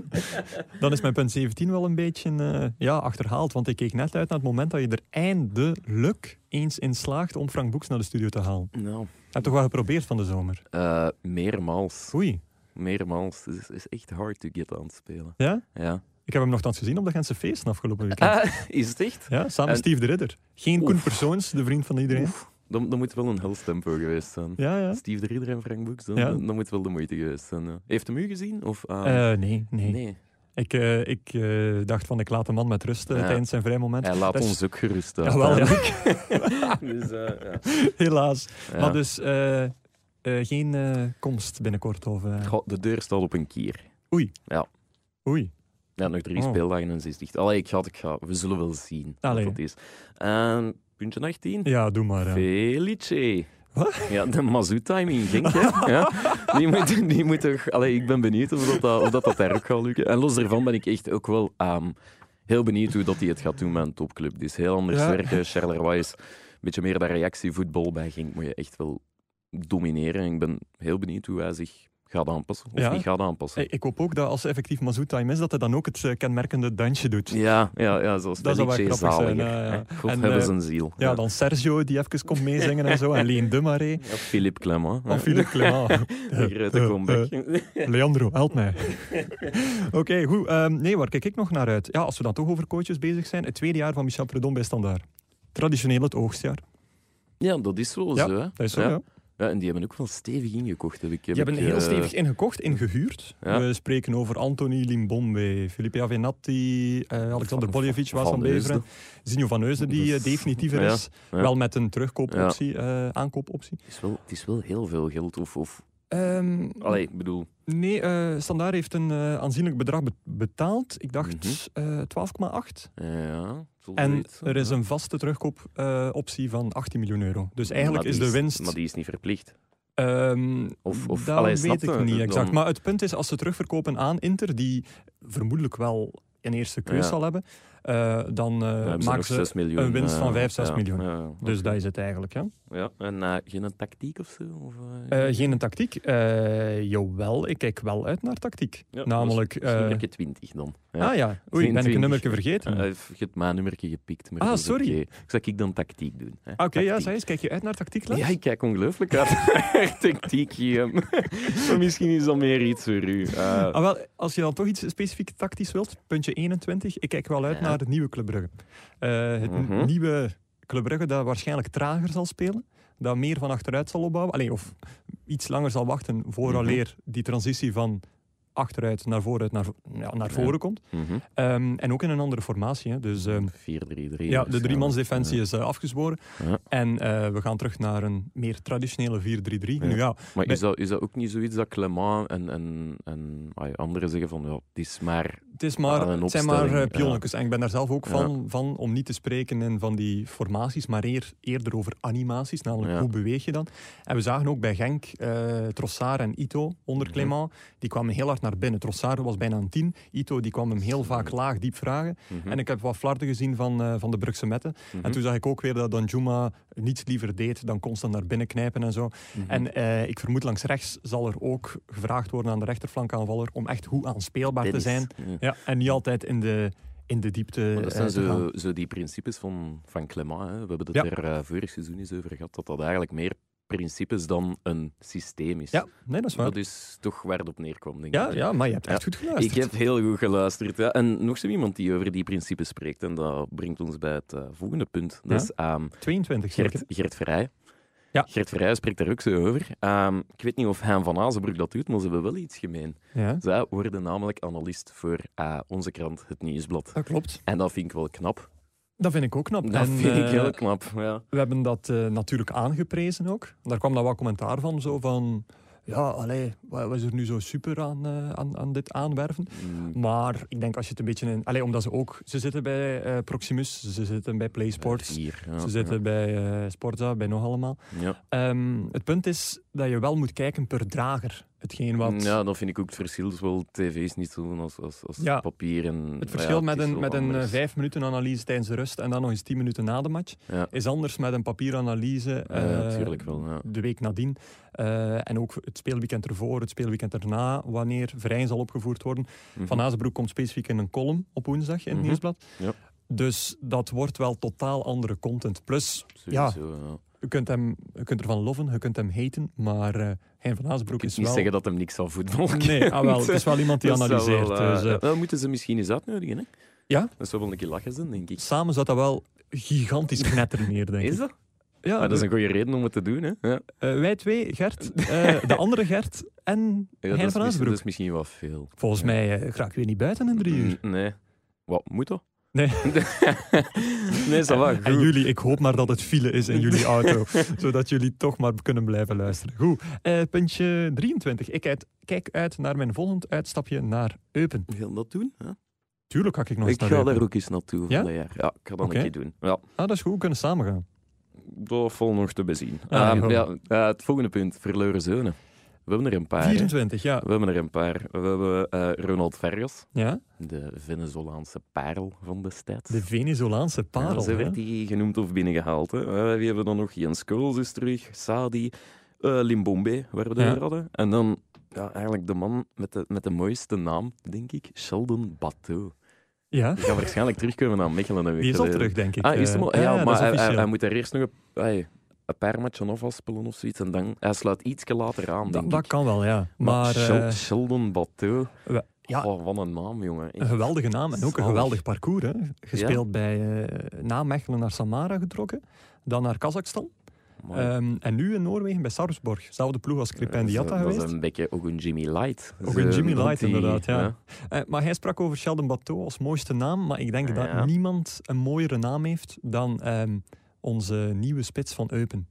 [SPEAKER 1] Dan is mijn punt 17 wel een beetje eh, ja, achterhaald. Want ik keek net uit naar het moment dat je er eindelijk eens in slaagt om Frank Boeks naar de studio te halen.
[SPEAKER 2] Nou,
[SPEAKER 1] Heb toch wel geprobeerd van de zomer?
[SPEAKER 2] eh, meermaals.
[SPEAKER 1] Oei,
[SPEAKER 2] Meermaals. Het is, is echt hard to get aan het spelen.
[SPEAKER 1] ja?
[SPEAKER 2] Ja.
[SPEAKER 1] Ik heb hem nogthans gezien op de Gentse feesten afgelopen weekend.
[SPEAKER 2] Ah, is het echt?
[SPEAKER 1] Ja, samen
[SPEAKER 2] En-
[SPEAKER 1] Steve de Ridder. Geen
[SPEAKER 2] Oef.
[SPEAKER 1] Koen Persoons, de vriend van iedereen.
[SPEAKER 2] Dan, dan moet wel een helstempo geweest zijn.
[SPEAKER 1] Ja, ja.
[SPEAKER 2] Steve de Ridder en Frank Boeks, dan,
[SPEAKER 1] Ja.
[SPEAKER 2] dan moet wel de moeite geweest zijn. ja. Heeft hem u gezien? Of, ah,
[SPEAKER 1] Eh, nee, nee.
[SPEAKER 2] nee,
[SPEAKER 1] Ik, eh, ik eh, dacht van, ik laat de man met rust eh,
[SPEAKER 2] Ja.
[SPEAKER 1] tijdens zijn vrij moment.
[SPEAKER 2] hij laat
[SPEAKER 1] dat is- (laughs)
[SPEAKER 2] ons ook gerust uit.
[SPEAKER 1] Jawel, ja,
[SPEAKER 2] (laughs) Dus, eh, ja.
[SPEAKER 1] (laughs) helaas.
[SPEAKER 2] Ja.
[SPEAKER 1] Maar dus, eh, eh, geen eh, komst binnenkort. Of, eh,
[SPEAKER 2] Goh, de deur staat op een kier.
[SPEAKER 1] Oei.
[SPEAKER 2] Ja, nog drie
[SPEAKER 1] Oh.
[SPEAKER 2] speeldagen en ze is dicht. Allee, ik ga, ik ga. We zullen wel zien
[SPEAKER 1] Allee.
[SPEAKER 2] wat dat is. Eh, puntje 18.
[SPEAKER 1] Ja, doe maar. ja.
[SPEAKER 2] Felice.
[SPEAKER 1] Wat?
[SPEAKER 2] Ja, de Mazoettime in Genk, hè. Ja. Die moet, die moet toch... Allee, ik ben benieuwd of dat, dat- of dat, dat daar ook gaat lukken. En los daarvan ben ik echt ook wel ehm, heel benieuwd hoe dat hij het gaat doen met een topclub. Het is heel anders
[SPEAKER 1] Ja.
[SPEAKER 2] werken. Charleroi is een beetje meer dat reactievoetbal bij Genk. Moet je echt wel domineren. En ik ben heel benieuwd hoe hij zich gaat aanpassen. Of
[SPEAKER 1] Ja.
[SPEAKER 2] niet gaat aanpassen.
[SPEAKER 1] Hey, ik hoop ook dat als ze effectief Mazoet time is, dat hij dan ook het eh, kenmerkende dansje doet. Ja.
[SPEAKER 2] Ja, ja, ja, zoals
[SPEAKER 1] Dat zou wel
[SPEAKER 2] Felice
[SPEAKER 1] grappig zijn,
[SPEAKER 2] zaliger.
[SPEAKER 1] ja, ja.
[SPEAKER 2] God
[SPEAKER 1] En,
[SPEAKER 2] hebben
[SPEAKER 1] eh,
[SPEAKER 2] zijn ziel.
[SPEAKER 1] dan Sergio, die even komt meezingen en zo. En Leen de Marais.
[SPEAKER 2] Ja, Philippe Clement.
[SPEAKER 1] Of Philippe
[SPEAKER 2] (laughs)
[SPEAKER 1] Clement.
[SPEAKER 2] Een
[SPEAKER 1] (laughs)
[SPEAKER 2] grote
[SPEAKER 1] Eh, eh,
[SPEAKER 2] comeback.
[SPEAKER 1] Leandro, help mij.
[SPEAKER 2] (laughs)
[SPEAKER 1] Oké, goed. Ehm, nee, waar kijk ik nog naar uit? Ja, als we dan toch over coaches bezig zijn, het tweede jaar van Michel Predon bij Standaard. Traditioneel het oogstjaar.
[SPEAKER 2] Ja, dat is wel
[SPEAKER 1] Ja,
[SPEAKER 2] zo. Hè.
[SPEAKER 1] Dat is zo,
[SPEAKER 2] ja.
[SPEAKER 1] ja.
[SPEAKER 2] Ja, en die hebben ook wel stevig ingekocht, heb ik.
[SPEAKER 1] Die hebben
[SPEAKER 2] ik,
[SPEAKER 1] heel
[SPEAKER 2] eh,
[SPEAKER 1] stevig ingekocht, ingehuurd.
[SPEAKER 2] ja.
[SPEAKER 1] We spreken over Anthony Limbombe, Felipe Avenatti, eh, Alexander
[SPEAKER 2] Van-
[SPEAKER 1] Boljevic, was van
[SPEAKER 2] Van Heusden.
[SPEAKER 1] Beveren, Zinho van Heusden, die
[SPEAKER 2] Dus-
[SPEAKER 1] eh, definitiever
[SPEAKER 2] ja,
[SPEAKER 1] is.
[SPEAKER 2] ja.
[SPEAKER 1] Wel met een terugkoopoptie, eh, aankoopoptie.
[SPEAKER 2] Het is, wel, het is wel heel veel geld. Of, of,
[SPEAKER 1] Ehm,
[SPEAKER 2] allee, ik bedoel,
[SPEAKER 1] nee, eh Standaard heeft een eh, aanzienlijk bedrag be- betaald. Ik dacht
[SPEAKER 2] Mhm.
[SPEAKER 1] eh 12,8.
[SPEAKER 2] eh, ja. het zal
[SPEAKER 1] En
[SPEAKER 2] zoiets zijn,
[SPEAKER 1] er is
[SPEAKER 2] ja.
[SPEAKER 1] een vaste terugkoopoptie van 18 miljoen euro. Dus eigenlijk
[SPEAKER 2] Maar
[SPEAKER 1] is
[SPEAKER 2] die
[SPEAKER 1] de winst. eh,
[SPEAKER 2] Maar die is niet verplicht.
[SPEAKER 1] ehm,
[SPEAKER 2] Of, of
[SPEAKER 1] dat
[SPEAKER 2] allee, snap
[SPEAKER 1] weet ik
[SPEAKER 2] je?
[SPEAKER 1] niet
[SPEAKER 2] Dan-
[SPEAKER 1] exact. Maar het punt is, als ze terugverkopen aan Inter, die vermoedelijk wel een eerste keus
[SPEAKER 2] Ja.
[SPEAKER 1] zal hebben, eh, dan eh,
[SPEAKER 2] dan hebben
[SPEAKER 1] maken
[SPEAKER 2] nog
[SPEAKER 1] ze.
[SPEAKER 2] zes miljoen,
[SPEAKER 1] een winst van
[SPEAKER 2] eh,
[SPEAKER 1] vijf, zes
[SPEAKER 2] ja,
[SPEAKER 1] miljoen.
[SPEAKER 2] ja, ja,
[SPEAKER 1] Dus
[SPEAKER 2] oké.
[SPEAKER 1] dat is het eigenlijk. Ja.
[SPEAKER 2] Ja, en eh, geen tactiek of zo? Of, eh,
[SPEAKER 1] Eh, geen tactiek? Eh jowel, ik kijk wel uit naar tactiek.
[SPEAKER 2] ja,
[SPEAKER 1] Namelijk.
[SPEAKER 2] Dat is, dat
[SPEAKER 1] eh,
[SPEAKER 2] is nummerke 20 dan.
[SPEAKER 1] ah ja, oei, ben ik
[SPEAKER 2] 22.
[SPEAKER 1] een nummertje
[SPEAKER 2] Ja,
[SPEAKER 1] vergeten.
[SPEAKER 2] Hij heeft het mijn nummerke gepikt. Maar
[SPEAKER 1] Ah,
[SPEAKER 2] dat is
[SPEAKER 1] sorry.
[SPEAKER 2] oké. Ik Zou ik dan tactiek doen? hè?
[SPEAKER 1] Ah, Oké, ja,
[SPEAKER 2] Tactiek.
[SPEAKER 1] zei eens, kijk je uit naar tactiek? Les?
[SPEAKER 2] Ja, ik kijk ongelooflijk uit (laughs) naar tactiek, Guillaume. (laughs) Maar Misschien is dat meer iets voor u. Eh,
[SPEAKER 1] Ah, wel, als je dan toch iets specifiek tactisch wilt, puntje 21. Ik kijk wel uit
[SPEAKER 2] Ja.
[SPEAKER 1] naar het nieuwe Club Brugge. Eh, het
[SPEAKER 2] Mhm.
[SPEAKER 1] nieuwe Club Brugge dat waarschijnlijk trager zal spelen. Dat meer van achteruit zal opbouwen. Alleen, of iets langer zal wachten vooraleer
[SPEAKER 2] Mhm.
[SPEAKER 1] die transitie van achteruit naar vooruit naar, vo- ja, naar
[SPEAKER 2] Ja.
[SPEAKER 1] voren komt.
[SPEAKER 2] mhm.
[SPEAKER 1] Ehm, en ook in een andere formatie. Hè. Dus ehm,
[SPEAKER 2] 4-3-3.
[SPEAKER 1] ja, de driemansdefensie is eh, afgezworen.
[SPEAKER 2] dus Ja.
[SPEAKER 1] En eh, we gaan terug naar een meer traditionele 4-3-3.
[SPEAKER 2] Ja.
[SPEAKER 1] Nu ja,
[SPEAKER 2] Maar is dat, is dat ook niet zoiets dat Clement en, en, en ah ja, anderen zeggen van ja, het is maar
[SPEAKER 1] het, is maar,
[SPEAKER 2] Aan een
[SPEAKER 1] het zijn maar eh,
[SPEAKER 2] opstelling,
[SPEAKER 1] pionnetjes. En ik ben daar zelf ook
[SPEAKER 2] Ja.
[SPEAKER 1] van, van om niet te spreken in van die formaties, maar eer, eerder over animaties. Namelijk,
[SPEAKER 2] Ja.
[SPEAKER 1] hoe beweeg je dan? En we zagen ook bij Genk eh Trossard en Ito onder
[SPEAKER 2] Mhm.
[SPEAKER 1] Clément. Die kwamen heel hard naar binnen. Trossard was bijna een tien. Ito die kwam hem heel vaak laag, diep vragen.
[SPEAKER 2] Mhm.
[SPEAKER 1] En ik heb wat flarden gezien van, eh, van de Brugse Metten. En toen zag ik ook weer dat Danjuma niets liever deed dan constant naar binnen knijpen en
[SPEAKER 2] Mhm.
[SPEAKER 1] zo. En eh, ik vermoed langs rechts zal er ook gevraagd worden aan de rechterflankaanvaller om echt hoe aanspeelbaar
[SPEAKER 2] Dit
[SPEAKER 1] te
[SPEAKER 2] is-
[SPEAKER 1] zijn.
[SPEAKER 2] Ja.
[SPEAKER 1] Ja, en niet altijd in de, in de diepte
[SPEAKER 2] Maar dat
[SPEAKER 1] eh,
[SPEAKER 2] zijn
[SPEAKER 1] te gaan.
[SPEAKER 2] zo, zo die principes van, van Clément. Hè. We hebben het
[SPEAKER 1] Ja.
[SPEAKER 2] er eh, vorig seizoen eens over gehad, dat dat eigenlijk meer principes dan een systeem is.
[SPEAKER 1] Ja, nee, dat is waar.
[SPEAKER 2] Dat is toch waar het op neerkwam, denk
[SPEAKER 1] Ja,
[SPEAKER 2] ik.
[SPEAKER 1] ja, maar je hebt
[SPEAKER 2] Ja.
[SPEAKER 1] echt goed
[SPEAKER 2] Ik
[SPEAKER 1] geluisterd.
[SPEAKER 2] heb heel goed geluisterd. Ja. En nog zo iemand die over die principes spreekt. En dat brengt ons bij het eh, volgende punt. Dat
[SPEAKER 1] Ja.
[SPEAKER 2] is ehm,
[SPEAKER 1] 22
[SPEAKER 2] Gert,
[SPEAKER 1] zeker.
[SPEAKER 2] Gert Verheij.
[SPEAKER 1] Ja.
[SPEAKER 2] Gert Verheij spreekt daar ook zo over. Ehm, ik weet niet of Han van Azenbroek dat doet, maar ze hebben wel iets gemeen.
[SPEAKER 1] Ja,
[SPEAKER 2] Zij worden namelijk analist voor eh, onze krant Het Nieuwsblad.
[SPEAKER 1] dat klopt.
[SPEAKER 2] En dat vind ik wel knap.
[SPEAKER 1] Dat vind ik ook knap.
[SPEAKER 2] Dat
[SPEAKER 1] en,
[SPEAKER 2] vind ik
[SPEAKER 1] eh,
[SPEAKER 2] heel knap, ja.
[SPEAKER 1] We hebben dat eh, natuurlijk aangeprezen ook. Daar kwam dan wat commentaar van, zo van... Ja, allee, wat wat is er nu zo super aan, eh, aan, aan dit aanwerven?
[SPEAKER 2] Mm,
[SPEAKER 1] Maar ik denk als je het een beetje in. Allee, omdat ze ook. Ze zitten bij eh, Proximus, ze zitten bij PlaySports.
[SPEAKER 2] vier, ja,
[SPEAKER 1] Ze zitten bij eh, Sportza, bij nog allemaal.
[SPEAKER 2] Ja, ja.
[SPEAKER 1] Ehm, het punt is dat je wel moet kijken per drager. Hetgeen wat.
[SPEAKER 2] ja, dan vind ik ook het verschil. Zowel tv is niet zo als, als, als
[SPEAKER 1] Ja.
[SPEAKER 2] papier. En,
[SPEAKER 1] het verschil met een, met een eh,
[SPEAKER 2] vijf.
[SPEAKER 1] vijf minuten analyse tijdens de rust en dan nog eens tien minuten na de match
[SPEAKER 2] Ja.
[SPEAKER 1] is anders met een papieranalyse.
[SPEAKER 2] Ja,
[SPEAKER 1] eh,
[SPEAKER 2] natuurlijk wel. Ja.
[SPEAKER 1] de week nadien. Eh, en ook het speelweekend ervoor, het speelweekend erna, wanneer Vrij zal opgevoerd worden.
[SPEAKER 2] Mhm.
[SPEAKER 1] Van Azenbroek komt specifiek in een column op woensdag in het
[SPEAKER 2] Mhm.
[SPEAKER 1] nieuwsblad.
[SPEAKER 2] Ja.
[SPEAKER 1] Dus dat wordt wel totaal andere content. Plus, ja.
[SPEAKER 2] Sowieso, ja.
[SPEAKER 1] je kunt, hem, je kunt ervan loven, je kunt hem haten, maar eh Hein van Azenbroek
[SPEAKER 2] Ik
[SPEAKER 1] is
[SPEAKER 2] kan niet
[SPEAKER 1] wel...
[SPEAKER 2] zeggen dat hem niks van voetbal kent.
[SPEAKER 1] Nee, ah, wel, het is wel iemand die
[SPEAKER 2] (laughs) Dat zou wel,
[SPEAKER 1] analyseert.
[SPEAKER 2] eh,
[SPEAKER 1] dus, eh,
[SPEAKER 2] dat moeten ze misschien eens uitnodigen, hè?
[SPEAKER 1] Ja.
[SPEAKER 2] Dat zou wel een keer lachen zijn, denk ik.
[SPEAKER 1] samen zou dat wel gigantisch knetteren meer, denk ik.
[SPEAKER 2] Is dat?
[SPEAKER 1] Ja, dus,
[SPEAKER 2] Ah, dat is een goede reden om het te doen, hè? Ja. Ja,
[SPEAKER 1] eh, wij twee, Gert, eh, de andere Gert en Hein
[SPEAKER 2] dat, is
[SPEAKER 1] van
[SPEAKER 2] misschien, dat
[SPEAKER 1] Azenbroek.
[SPEAKER 2] is misschien wel veel.
[SPEAKER 1] Volgens mij eh, raak ik weer niet buiten in drie uur.
[SPEAKER 2] Mm, Nee. Wat, moet dat?
[SPEAKER 1] Nee.
[SPEAKER 2] (laughs) nee, ça va,
[SPEAKER 1] En
[SPEAKER 2] goed.
[SPEAKER 1] jullie, ik hoop maar dat het file is in jullie auto,
[SPEAKER 2] (laughs)
[SPEAKER 1] zodat jullie toch maar kunnen blijven luisteren. Goed, eh, puntje 23. Ik uit- kijk uit naar mijn volgend uitstapje naar Eupen.
[SPEAKER 2] Wil dat doen? hè?
[SPEAKER 1] Tuurlijk kijk ik nog eens
[SPEAKER 2] Ik
[SPEAKER 1] naar
[SPEAKER 2] ga
[SPEAKER 1] Eupen.
[SPEAKER 2] daar ook eens naartoe
[SPEAKER 1] Ja?
[SPEAKER 2] van dat jaar. Ja, ik ga dat
[SPEAKER 1] Oké.
[SPEAKER 2] een keer doen. Ja,
[SPEAKER 1] Ah, dat is goed, we kunnen samen gaan.
[SPEAKER 2] dat valt nog te bezien.
[SPEAKER 1] Ah,
[SPEAKER 2] Ehm,
[SPEAKER 1] goed.
[SPEAKER 2] ja, eh, het volgende punt, verloren zonen. We hebben er een paar. hè.
[SPEAKER 1] 24, ja.
[SPEAKER 2] We hebben er een paar. We hebben eh, Ronald Vergas.
[SPEAKER 1] ja.
[SPEAKER 2] De Venezolaanse parel van destijds.
[SPEAKER 1] De Venezolaanse parel.
[SPEAKER 2] Ja, zo
[SPEAKER 1] hè.
[SPEAKER 2] werd die genoemd of binnengehaald. Hè. Eh, wie hebben dan nog? Jens Kools is terug, Sadi, eh, Limbombe, waar we het
[SPEAKER 1] Ja.
[SPEAKER 2] over hadden. En dan ja, eigenlijk de man met de, met de mooiste naam, denk ik, Sheldon Bateau.
[SPEAKER 1] Ja,
[SPEAKER 2] Die gaat waarschijnlijk terugkomen naar Mechelen. heb ik
[SPEAKER 1] die is al
[SPEAKER 2] gelezen.
[SPEAKER 1] terug, denk ik.
[SPEAKER 2] Ah, is
[SPEAKER 1] Eh,
[SPEAKER 2] hem al? Ja,
[SPEAKER 1] dat
[SPEAKER 2] maar
[SPEAKER 1] is
[SPEAKER 2] hij, hij-
[SPEAKER 1] officieel.
[SPEAKER 2] hij moet daar eerst nog een, ai, een paar matchen af afspelen of zoiets. En dan, hij slaat ietsje later aan,
[SPEAKER 1] dat,
[SPEAKER 2] denk
[SPEAKER 1] dat
[SPEAKER 2] ik.
[SPEAKER 1] kan wel, ja. Maar
[SPEAKER 2] Shel-
[SPEAKER 1] eh,
[SPEAKER 2] Sheldon Bateau,
[SPEAKER 1] we- ja. Eh,
[SPEAKER 2] oh, wat een naam, jongen.
[SPEAKER 1] een geweldige naam en ook een
[SPEAKER 2] Zalig.
[SPEAKER 1] geweldig parcours. Hè. Gespeeld bij, eh, na Mechelen naar Samara getrokken, dan naar Kazachstan.
[SPEAKER 2] Amai.
[SPEAKER 1] Ehm, en nu in Noorwegen bij Sarpsborg. Zelfde ploeg als
[SPEAKER 2] dat
[SPEAKER 1] Crependiata
[SPEAKER 2] is-
[SPEAKER 1] geweest.
[SPEAKER 2] Dat is een beetje ook een Jimmy Light.
[SPEAKER 1] Ook een Jimmy
[SPEAKER 2] Dat
[SPEAKER 1] Light,
[SPEAKER 2] die-
[SPEAKER 1] inderdaad, ja. Eh, maar hij sprak over Sheldon Bateau als mooiste naam. Maar ik denk dat
[SPEAKER 2] Ja.
[SPEAKER 1] niemand een mooiere naam heeft dan ehm, onze nieuwe spits van Eupen.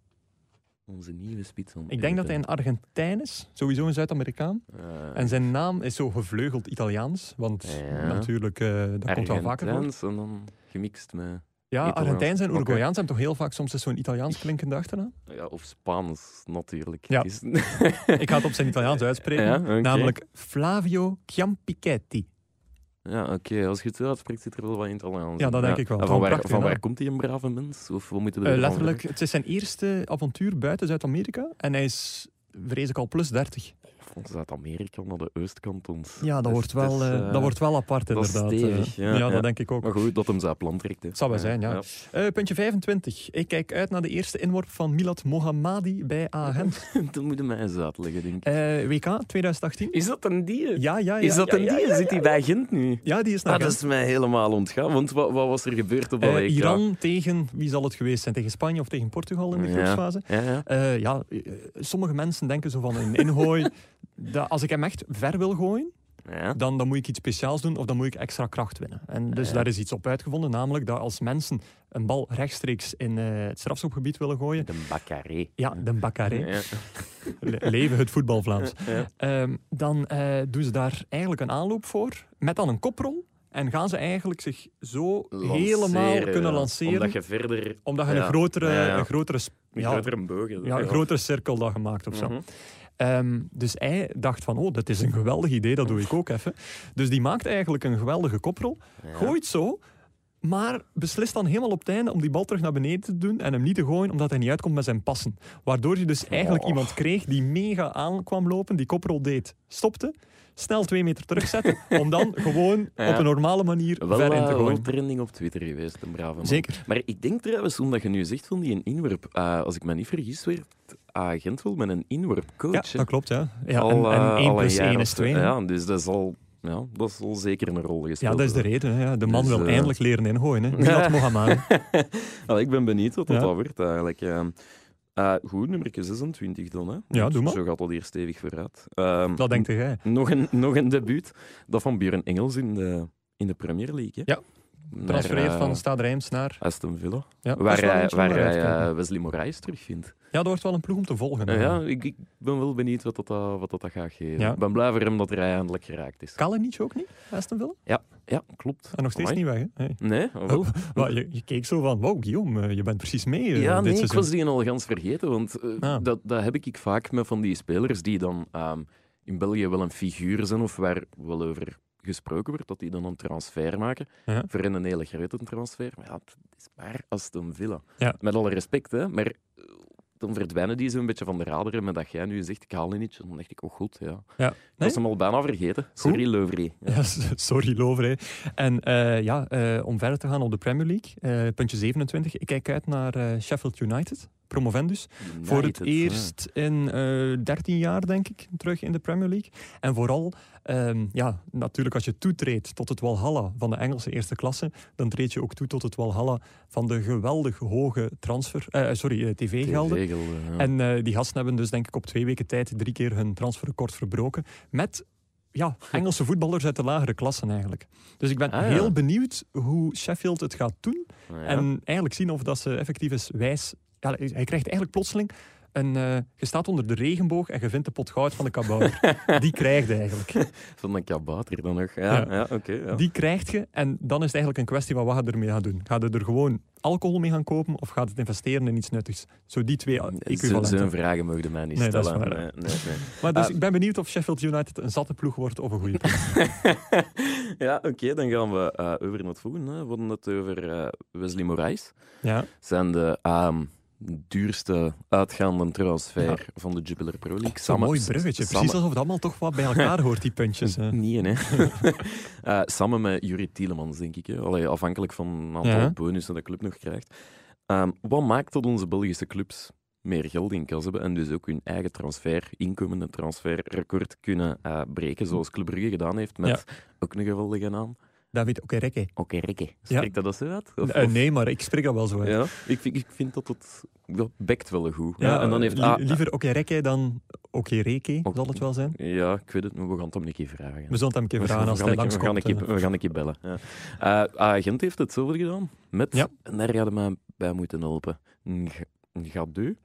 [SPEAKER 2] Onze nieuwe spits. van
[SPEAKER 1] Ik denk dat hij een Argentijn is, sowieso een Zuid-Amerikaan.
[SPEAKER 2] Eh,
[SPEAKER 1] En zijn naam is zo gevleugeld Italiaans, want
[SPEAKER 2] Ja.
[SPEAKER 1] natuurlijk, eh, dat komt wel vaker voor.
[SPEAKER 2] Argentijns en dan gemixt met...
[SPEAKER 1] Ja,
[SPEAKER 2] Italiaans.
[SPEAKER 1] Argentijns en
[SPEAKER 2] Oké.
[SPEAKER 1] Uruguayaans hebben toch heel vaak soms eens zo'n Italiaans klinkende achternaam? (laughs)
[SPEAKER 2] Ja, of Spaans, natuurlijk.
[SPEAKER 1] Ja.
[SPEAKER 2] Is-
[SPEAKER 1] (laughs) Ik ga het op zijn Italiaans uitspreken.
[SPEAKER 2] (laughs) Ja, oké.
[SPEAKER 1] Namelijk Flavio Chiampichetti.
[SPEAKER 2] Ja, oké. Als je het zo uitspreekt, zit er wel wat in het Hollands.
[SPEAKER 1] Ja, dat denk ik wel.
[SPEAKER 2] En
[SPEAKER 1] Wat een
[SPEAKER 2] van waar,
[SPEAKER 1] prachtige
[SPEAKER 2] van waar
[SPEAKER 1] naam.
[SPEAKER 2] komt die een brave mens? Of wat moeten we
[SPEAKER 1] Eh,
[SPEAKER 2] ervan
[SPEAKER 1] letterlijk, het is zijn eerste avontuur buiten Zuid-Amerika. En hij is, vrees ik, al plus 30.
[SPEAKER 2] verwachten? Van Zuid-Amerika naar de oostkantons.
[SPEAKER 1] Ja, dat,
[SPEAKER 2] Dus
[SPEAKER 1] wordt
[SPEAKER 2] het
[SPEAKER 1] wel,
[SPEAKER 2] is,
[SPEAKER 1] eh,
[SPEAKER 2] eh,
[SPEAKER 1] dat wordt wel apart,
[SPEAKER 2] dat is
[SPEAKER 1] inderdaad.
[SPEAKER 2] stevig,
[SPEAKER 1] Eh,
[SPEAKER 2] ja,
[SPEAKER 1] dat
[SPEAKER 2] ja.
[SPEAKER 1] denk ik ook.
[SPEAKER 2] Maar goed, dat hem zijn plan trekt. hè.
[SPEAKER 1] zal wel zijn, ja.
[SPEAKER 2] (laughs)
[SPEAKER 1] Eh, puntje 25. Ik kijk uit naar de eerste inworp van Milad Mohammadi bij
[SPEAKER 2] (laughs)
[SPEAKER 1] Agent.
[SPEAKER 2] dat moet hem eens uitleggen, denk ik.
[SPEAKER 1] Eh, WK 2018.
[SPEAKER 2] Is dat een dier?
[SPEAKER 1] Ja, ja, ja.
[SPEAKER 2] Is dat
[SPEAKER 1] ja,
[SPEAKER 2] een
[SPEAKER 1] ja,
[SPEAKER 2] die?
[SPEAKER 1] ja.
[SPEAKER 2] Zit hij bij Gent nu?
[SPEAKER 1] Ja, die is naar
[SPEAKER 2] Ah, dat
[SPEAKER 1] Gent.
[SPEAKER 2] is mij helemaal ontgaan. Want wat, wat was er gebeurd op dat
[SPEAKER 1] Eh,
[SPEAKER 2] WK?
[SPEAKER 1] Iran tegen, wie zal het geweest zijn? Tegen Spanje of tegen Portugal in de
[SPEAKER 2] Ja.
[SPEAKER 1] groepsfase?
[SPEAKER 2] Ja, ja.
[SPEAKER 1] Eh,
[SPEAKER 2] (laughs)
[SPEAKER 1] ja, eh, sommige mensen denken zo van een ingooi. dat als ik hem echt ver wil gooien,
[SPEAKER 2] Ja.
[SPEAKER 1] dan, dan moet ik iets speciaals doen of dan moet ik extra kracht winnen. En dus
[SPEAKER 2] Ja.
[SPEAKER 1] daar is iets op uitgevonden, namelijk dat als mensen een bal rechtstreeks in eh, het strafschopgebied willen gooien,
[SPEAKER 2] De bakkerij.
[SPEAKER 1] ja, de bakkaré,
[SPEAKER 2] Ja.
[SPEAKER 1] Le- leven het voetbal Vlaams,
[SPEAKER 2] (laughs) Ja.
[SPEAKER 1] Ehm, dan eh, doen ze daar eigenlijk een aanloop voor, met dan een koprol. En gaan ze eigenlijk zich zo helemaal
[SPEAKER 2] Lanceren,
[SPEAKER 1] kunnen
[SPEAKER 2] ja.
[SPEAKER 1] lanceren,
[SPEAKER 2] Omdat
[SPEAKER 1] omdat je,
[SPEAKER 2] je verder...
[SPEAKER 1] een
[SPEAKER 2] ja.
[SPEAKER 1] grotere,
[SPEAKER 2] Ja, ja.
[SPEAKER 1] Een grotere, sp-
[SPEAKER 2] Een
[SPEAKER 1] ja,
[SPEAKER 2] grotere bogen.
[SPEAKER 1] ja, een grotere cirkel dat gemaakt of zo.
[SPEAKER 2] Mhm.
[SPEAKER 1] Ehm, dus hij dacht van, oh, dat is een geweldig idee, dat doe ik ook even. Dus die maakt eigenlijk een geweldige koprol,
[SPEAKER 2] Ja.
[SPEAKER 1] gooit zo, maar beslist dan helemaal op het einde om die bal terug naar beneden te doen en hem niet te gooien, omdat hij niet uitkomt met zijn passen. Waardoor je dus eigenlijk
[SPEAKER 2] Oh.
[SPEAKER 1] iemand kreeg die mega aankwam lopen, die koprol deed, stopte, snel twee meter terugzette, om
[SPEAKER 2] (laughs)
[SPEAKER 1] dan gewoon
[SPEAKER 2] Ja.
[SPEAKER 1] op een normale manier
[SPEAKER 2] Wel,
[SPEAKER 1] ver in
[SPEAKER 2] eh,
[SPEAKER 1] te
[SPEAKER 2] wel
[SPEAKER 1] gooien.
[SPEAKER 2] trending op Twitter geweest, een brave man.
[SPEAKER 1] Zeker.
[SPEAKER 2] Maar ik denk trouwens, omdat je nu zegt van die een inwerp, eh, als ik me niet vergis, werd agent Gent wel met een
[SPEAKER 1] Ja,
[SPEAKER 2] inwerpcoach. hè.
[SPEAKER 1] dat klopt, ja. ja
[SPEAKER 2] Al,
[SPEAKER 1] en,
[SPEAKER 2] eh,
[SPEAKER 1] en
[SPEAKER 2] al
[SPEAKER 1] 1
[SPEAKER 2] een
[SPEAKER 1] plus
[SPEAKER 2] jaar
[SPEAKER 1] 1
[SPEAKER 2] of
[SPEAKER 1] is
[SPEAKER 2] zo.
[SPEAKER 1] 2.
[SPEAKER 2] Ja, dus dat is al, ja, dat is al zeker een rol
[SPEAKER 1] Ja,
[SPEAKER 2] gespeeld.
[SPEAKER 1] dat is de reden. hè. Ja, de man
[SPEAKER 2] Dus,
[SPEAKER 1] wil
[SPEAKER 2] eh,
[SPEAKER 1] eindelijk leren ingooien. Hè.
[SPEAKER 2] (laughs)
[SPEAKER 1] Milad Mohammadi.
[SPEAKER 2] Allee, ik ben benieuwd wat dat
[SPEAKER 1] Ja.
[SPEAKER 2] wordt eigenlijk. Ehm, eh, goed, nummer 26 dan. Hè?
[SPEAKER 1] Ja,
[SPEAKER 2] Want
[SPEAKER 1] doe maar.
[SPEAKER 2] Zo gaat dat hier stevig vooruit. Ehm,
[SPEAKER 1] Dat denkt jij.
[SPEAKER 2] nog, een, nog een debuut, dat van Björn Engels in de, in de Premier League. Hè?
[SPEAKER 1] Ja.
[SPEAKER 2] Naar,
[SPEAKER 1] Transfereert
[SPEAKER 2] eh,
[SPEAKER 1] van Stade Reims naar...
[SPEAKER 2] Aston Villa.
[SPEAKER 1] Ja,
[SPEAKER 2] Waar
[SPEAKER 1] Aston
[SPEAKER 2] hij,
[SPEAKER 1] Reims
[SPEAKER 2] waar
[SPEAKER 1] naar
[SPEAKER 2] hij
[SPEAKER 1] uitkomen.
[SPEAKER 2] eh, Wesley Moraes terugvindt. Eh,
[SPEAKER 1] Ja, dat wordt wel een ploeg om te volgen. eh.
[SPEAKER 2] Ja,
[SPEAKER 1] hè.
[SPEAKER 2] ik, ik ben wel benieuwd wat dat, eh, wat dat, dat gaat geven. Ik
[SPEAKER 1] Ja.
[SPEAKER 2] ben blij voor hem dat er eindelijk geraakt is.
[SPEAKER 1] Kalinic ook niet, Aston Villa?
[SPEAKER 2] Ja, klopt.
[SPEAKER 1] En nog steeds
[SPEAKER 2] Amai.
[SPEAKER 1] niet weg, hè? Nee.
[SPEAKER 2] Nee? wel.
[SPEAKER 1] Oh, maar je, je keek zo van, wow, Guillaume, eh, je bent precies mee eh,
[SPEAKER 2] ja,
[SPEAKER 1] dit
[SPEAKER 2] nee, ik
[SPEAKER 1] seizoen.
[SPEAKER 2] was die al gans vergeten. Want eh,
[SPEAKER 1] Ah.
[SPEAKER 2] dat, dat heb ik vaak met van die spelers die dan ehm, in België wel een figuur zijn of waar wel over gesproken wordt, dat die dan een transfer maken.
[SPEAKER 1] Ja.
[SPEAKER 2] Voor hen een hele grote transfer. Maar ja, het is maar Aston Villa.
[SPEAKER 1] Ja.
[SPEAKER 2] Met alle respect, hè. Maar eh, dan verdwijnen die zo'n beetje van de radar. Maar dat jij nu zegt, ik haal die niet. Dan dacht ik, oh goed, ja.
[SPEAKER 1] Ja.
[SPEAKER 2] Ik was hem al bijna vergeten. Sorry, Leuvree. Ja.
[SPEAKER 1] Ja, (laughs) s- sorry, Lovre. En eh, ja, eh, om verder te gaan op de Premier League, eh, puntje 27. Ik kijk uit naar eh, Sheffield United, promovendus. Voor het
[SPEAKER 2] United, ja.
[SPEAKER 1] eerst in eh 13 jaar, denk ik, terug in de Premier League. En vooral, ehm, ja, natuurlijk als je toetreedt tot het Walhalla van de Engelse eerste klasse, dan treed je ook toe tot het Walhalla van de geweldig hoge transfer, eh, sorry, eh, tv-gelden.
[SPEAKER 2] TV-gelden, ja.
[SPEAKER 1] En eh, die gasten hebben dus denk ik op twee weken tijd drie keer hun transferrecord verbroken. Met ja, Engelse voetballers uit de lagere klassen eigenlijk. Dus ik ben
[SPEAKER 2] Ah, ja.
[SPEAKER 1] heel benieuwd hoe Sheffield het gaat doen.
[SPEAKER 2] Ja.
[SPEAKER 1] En eigenlijk zien of dat ze effectief is wijs. Ja, hij krijgt eigenlijk plotseling een. eh, je staat onder de regenboog en je vindt de pot goud van de
[SPEAKER 2] (laughs)
[SPEAKER 1] kabouter. Die krijg je eigenlijk.
[SPEAKER 2] Van een kabouter dan nog. Ja,
[SPEAKER 1] Ja.
[SPEAKER 2] ja. oké. ja.
[SPEAKER 1] Die krijg je en dan is het eigenlijk een kwestie van wat ga je ermee gaan doen. Ga je er gewoon alcohol mee gaan kopen of gaat het investeren in iets nuttigs? Zo die twee
[SPEAKER 2] Zo-
[SPEAKER 1] equivalenten.
[SPEAKER 2] Zo'n vragen mogen mij niet
[SPEAKER 1] Nee, dat is
[SPEAKER 2] stellen.
[SPEAKER 1] waar.
[SPEAKER 2] Nee, nee, nee. (laughs)
[SPEAKER 1] Maar dus
[SPEAKER 2] Ah.
[SPEAKER 1] ik ben benieuwd of Sheffield United een zatte ploeg wordt of een
[SPEAKER 2] (laughs)
[SPEAKER 1] goede ploeg.
[SPEAKER 2] ja, oké, dan gaan we eh, over naar het volgende. hè. We hadden het over eh, Wesley Moraes.
[SPEAKER 1] Ja,
[SPEAKER 2] Zijn de ehm, duurste uitgaande transfer van de Jupiler Pro League.
[SPEAKER 1] zo'n
[SPEAKER 2] Samen-
[SPEAKER 1] mooi bruggetje.
[SPEAKER 2] samen-
[SPEAKER 1] Precies alsof het allemaal toch wat bij elkaar hoort, die puntjes.
[SPEAKER 2] (laughs)
[SPEAKER 1] hè.
[SPEAKER 2] Nee, nee.
[SPEAKER 1] (laughs)
[SPEAKER 2] Eh, samen met Jurie Tielemans, denk ik. Hè. Allee, afhankelijk van een aantal
[SPEAKER 1] Ja.
[SPEAKER 2] bonussen dat de club nog krijgt. Ehm, wat maakt dat onze Belgische clubs meer geld in kas hebben en dus ook hun eigen transfer, inkomende transferrecord kunnen eh, breken, zoals Club Brugge gedaan heeft met ook een geweldige naam.
[SPEAKER 1] David Okereke.
[SPEAKER 2] Oké, Rikke.
[SPEAKER 1] Ja.
[SPEAKER 2] Spreekt dat dat zo uit? Of-
[SPEAKER 1] Eh,
[SPEAKER 2] of-
[SPEAKER 1] nee, maar ik spreek dat wel zo uit.
[SPEAKER 2] Ja, ik, vind- ik vind dat het dat bekt wel goed.
[SPEAKER 1] Ja,
[SPEAKER 2] Ja, en dan heeft
[SPEAKER 1] li-
[SPEAKER 2] A-
[SPEAKER 1] liever Okereke dan Okereke,
[SPEAKER 2] Ok-
[SPEAKER 1] zal het wel zijn.
[SPEAKER 2] ja, ik weet het, maar we gaan het hem een keer vragen.
[SPEAKER 1] We zullen het hem een keer
[SPEAKER 2] We gaan-
[SPEAKER 1] vragen als
[SPEAKER 2] we
[SPEAKER 1] hij
[SPEAKER 2] gaan een keer-
[SPEAKER 1] langskomt.
[SPEAKER 2] We gaan, een keer, we gaan een keer bellen. Ja. Eh, ah, Gent heeft hetzelfde gedaan. Met,
[SPEAKER 1] Ja.
[SPEAKER 2] En daar hadden we mij bij moeten helpen. Een g- een gadeu.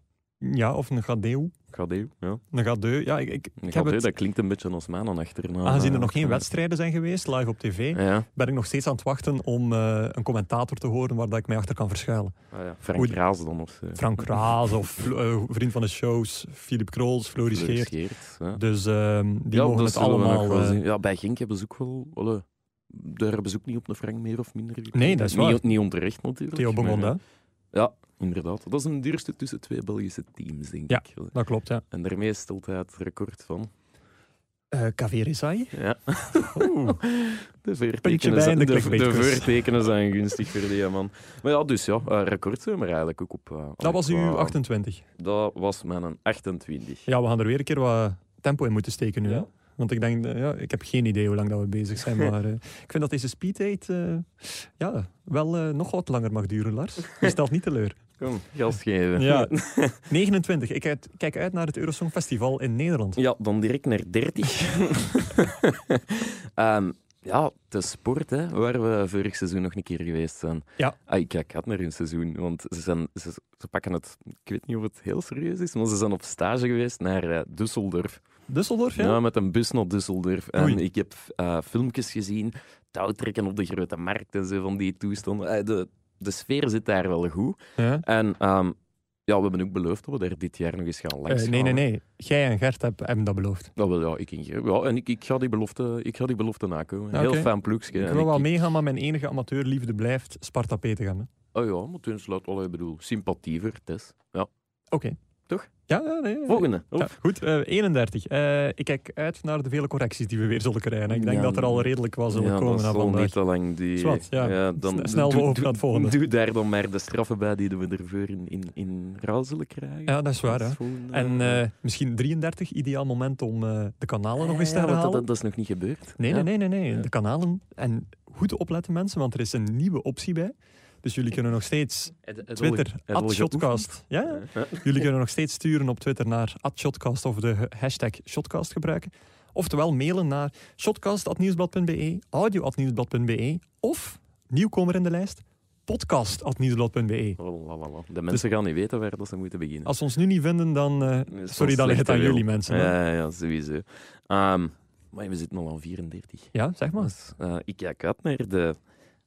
[SPEAKER 1] Ja, of een gadeu.
[SPEAKER 2] Gadeu, ja.
[SPEAKER 1] Een gadeu, ja. Ik, ik,
[SPEAKER 2] Een
[SPEAKER 1] ik heb
[SPEAKER 2] gadeu,
[SPEAKER 1] het,
[SPEAKER 2] dat klinkt een beetje als mijn aan achternaam.
[SPEAKER 1] aangezien er
[SPEAKER 2] eh,
[SPEAKER 1] nog geen
[SPEAKER 2] eh,
[SPEAKER 1] wedstrijden zijn geweest, live op tv,
[SPEAKER 2] Ja,
[SPEAKER 1] ben ik nog steeds aan het wachten om eh, een commentator te horen waar dat ik mij achter kan verschuilen.
[SPEAKER 2] Ah, ja. Frank
[SPEAKER 1] Oei.
[SPEAKER 2] Raas dan of zo.
[SPEAKER 1] Frank Raas
[SPEAKER 2] (laughs)
[SPEAKER 1] of Flo- eh, vriend van de shows, Filip Krols, Floris
[SPEAKER 2] Fleur
[SPEAKER 1] Geert.
[SPEAKER 2] Geerts, ja.
[SPEAKER 1] Dus ehm, die
[SPEAKER 2] Ja,
[SPEAKER 1] mogen
[SPEAKER 2] dat
[SPEAKER 1] het
[SPEAKER 2] zullen we nog
[SPEAKER 1] allemaal...
[SPEAKER 2] wel
[SPEAKER 1] eh,
[SPEAKER 2] zien. ja, bij Genk hebben ze ook wel... alle- daar hebben ze ook niet op een Frank meer of minder. gekregen.
[SPEAKER 1] Nee, dat is waar.
[SPEAKER 2] Niet, niet onterecht natuurlijk.
[SPEAKER 1] Theo
[SPEAKER 2] maar,
[SPEAKER 1] Bongonda,
[SPEAKER 2] eh, Ja, inderdaad. Dat is een duurste tussen twee Belgische teams, denk
[SPEAKER 1] Ja.
[SPEAKER 2] ik.
[SPEAKER 1] dat klopt, ja.
[SPEAKER 2] En daarmee stelt hij het record van
[SPEAKER 1] Eh KV Rizai.
[SPEAKER 2] Ja.
[SPEAKER 1] Oeh.
[SPEAKER 2] (laughs) De
[SPEAKER 1] Puntje
[SPEAKER 2] voortekenen,
[SPEAKER 1] bij
[SPEAKER 2] zijn,
[SPEAKER 1] in de
[SPEAKER 2] de, de
[SPEAKER 1] clickbaitquiz.
[SPEAKER 2] voortekenen zijn gunstig voor die man. Maar ja, dus ja, eh, record zijn we er eigenlijk ook op. eh,
[SPEAKER 1] Dat was
[SPEAKER 2] qua-
[SPEAKER 1] uw 28.
[SPEAKER 2] Dat was mijn 28.
[SPEAKER 1] Ja, we gaan er weer een keer wat tempo in moeten steken nu.
[SPEAKER 2] Ja.
[SPEAKER 1] Hè? Want ik denk, eh, ja, ik heb geen idee hoe lang dat we bezig
[SPEAKER 2] (laughs)
[SPEAKER 1] zijn. Maar eh, ik vind dat
[SPEAKER 2] (laughs)
[SPEAKER 1] deze speed date, eh, ja, wel eh, nog wat langer mag duren, Lars. Je stelt niet teleur.
[SPEAKER 2] Kom, gas
[SPEAKER 1] (laughs)
[SPEAKER 2] geven.
[SPEAKER 1] Ja. 29. Ik uit- kijk uit naar het Eurosong Festival in Nederland.
[SPEAKER 2] Ja, dan direct naar
[SPEAKER 1] (laughs)
[SPEAKER 2] 30. Ehm, ja, de sport, hè, waar we vorig seizoen nog een keer geweest zijn.
[SPEAKER 1] Ja.
[SPEAKER 2] Ah, ik, ik had naar hun seizoen, want ze, zijn, ze, ze pakken het... Ik weet niet of het heel serieus is, maar ze zijn op stage geweest naar eh, Düsseldorf.
[SPEAKER 1] Düsseldorf, ja?
[SPEAKER 2] Ja, met een bus naar Düsseldorf. En
[SPEAKER 1] Oei.
[SPEAKER 2] ik heb eh, filmpjes gezien, touwtrekken op de grote markt en zo van die toestanden. Eh, de, de sfeer zit daar wel goed.
[SPEAKER 1] Ja.
[SPEAKER 2] En ehm, ja, we hebben ook beloofd dat we daar dit jaar nog eens gaan langs
[SPEAKER 1] Eh, nee, nee,
[SPEAKER 2] gaan.
[SPEAKER 1] nee. Jij en Gert heb- hebben dat beloofd.
[SPEAKER 2] Dat wil ja, ik in Geer- Ja, en ik, ik, ga die belofte, ik ga die belofte nakomen.
[SPEAKER 1] Ja,
[SPEAKER 2] Heel
[SPEAKER 1] oké.
[SPEAKER 2] fijn ploegje.
[SPEAKER 1] Ik
[SPEAKER 2] En
[SPEAKER 1] wil wel
[SPEAKER 2] ik-
[SPEAKER 1] meegaan, maar mijn enige amateurliefde blijft Sparta Petegem. hè.
[SPEAKER 2] Oh ja, maar toen sluit wel, ik bedoel, sympathiever, Tess. Ja.
[SPEAKER 1] Oké.
[SPEAKER 2] Toch?
[SPEAKER 1] Ja, ja, nee. nee.
[SPEAKER 2] Volgende.
[SPEAKER 1] Ja, goed, eh, 31. Eh, ik kijk uit naar de vele correcties die we weer zullen krijgen. Ik denk
[SPEAKER 2] Ja,
[SPEAKER 1] dat er al redelijk wel zullen
[SPEAKER 2] ja,
[SPEAKER 1] komen
[SPEAKER 2] dat
[SPEAKER 1] na
[SPEAKER 2] zal niet
[SPEAKER 1] vandaag.
[SPEAKER 2] te lang die...
[SPEAKER 1] Zwart, ja.
[SPEAKER 2] dan,
[SPEAKER 1] Sne- snel
[SPEAKER 2] doe-
[SPEAKER 1] over
[SPEAKER 2] doe-
[SPEAKER 1] naar het volgende.
[SPEAKER 2] Doe daar dan maar de straffen bij die we ervoor in, in, in ruil zullen krijgen.
[SPEAKER 1] Ja, dat is waar.
[SPEAKER 2] Dat
[SPEAKER 1] Hè.
[SPEAKER 2] is volgende-
[SPEAKER 1] En eh, misschien 33, ideaal moment om eh, de kanalen nog eens te
[SPEAKER 2] Ja, want
[SPEAKER 1] herhalen.
[SPEAKER 2] Dat, dat is nog niet gebeurd.
[SPEAKER 1] Nee,
[SPEAKER 2] Ja.
[SPEAKER 1] nee, nee, nee, nee.
[SPEAKER 2] Ja.
[SPEAKER 1] De kanalen. En goed opletten mensen, want er is een nieuwe optie bij. Dus jullie kunnen nog steeds
[SPEAKER 2] Het- het zal-
[SPEAKER 1] Twitter,
[SPEAKER 2] het zal
[SPEAKER 1] shotcast. Ja, ja.
[SPEAKER 2] geoefend. Ja.
[SPEAKER 1] jullie kunnen nog steeds sturen op Twitter naar shotcast of de he- hashtag shotcast gebruiken. Oftewel mailen naar shotcast.nieuwsblad.be, audio.nieuwsblad.be of, nieuwkomer in de lijst, podcast.nieuwsblad.be.
[SPEAKER 2] Oh, la, la, la. De mensen gaan niet weten waar dat ze moeten beginnen.
[SPEAKER 1] Als ze ons nu niet vinden, dan... eh,
[SPEAKER 2] Dat is
[SPEAKER 1] sorry,
[SPEAKER 2] wel
[SPEAKER 1] dan ligt het aan
[SPEAKER 2] slechte
[SPEAKER 1] jullie
[SPEAKER 2] wil.
[SPEAKER 1] mensen. hè.
[SPEAKER 2] Ja, ja, ja, sowieso. Ehm, maar we zitten al aan 34.
[SPEAKER 1] Ja, zeg maar.
[SPEAKER 2] Dus, eh, ik kijk uit naar de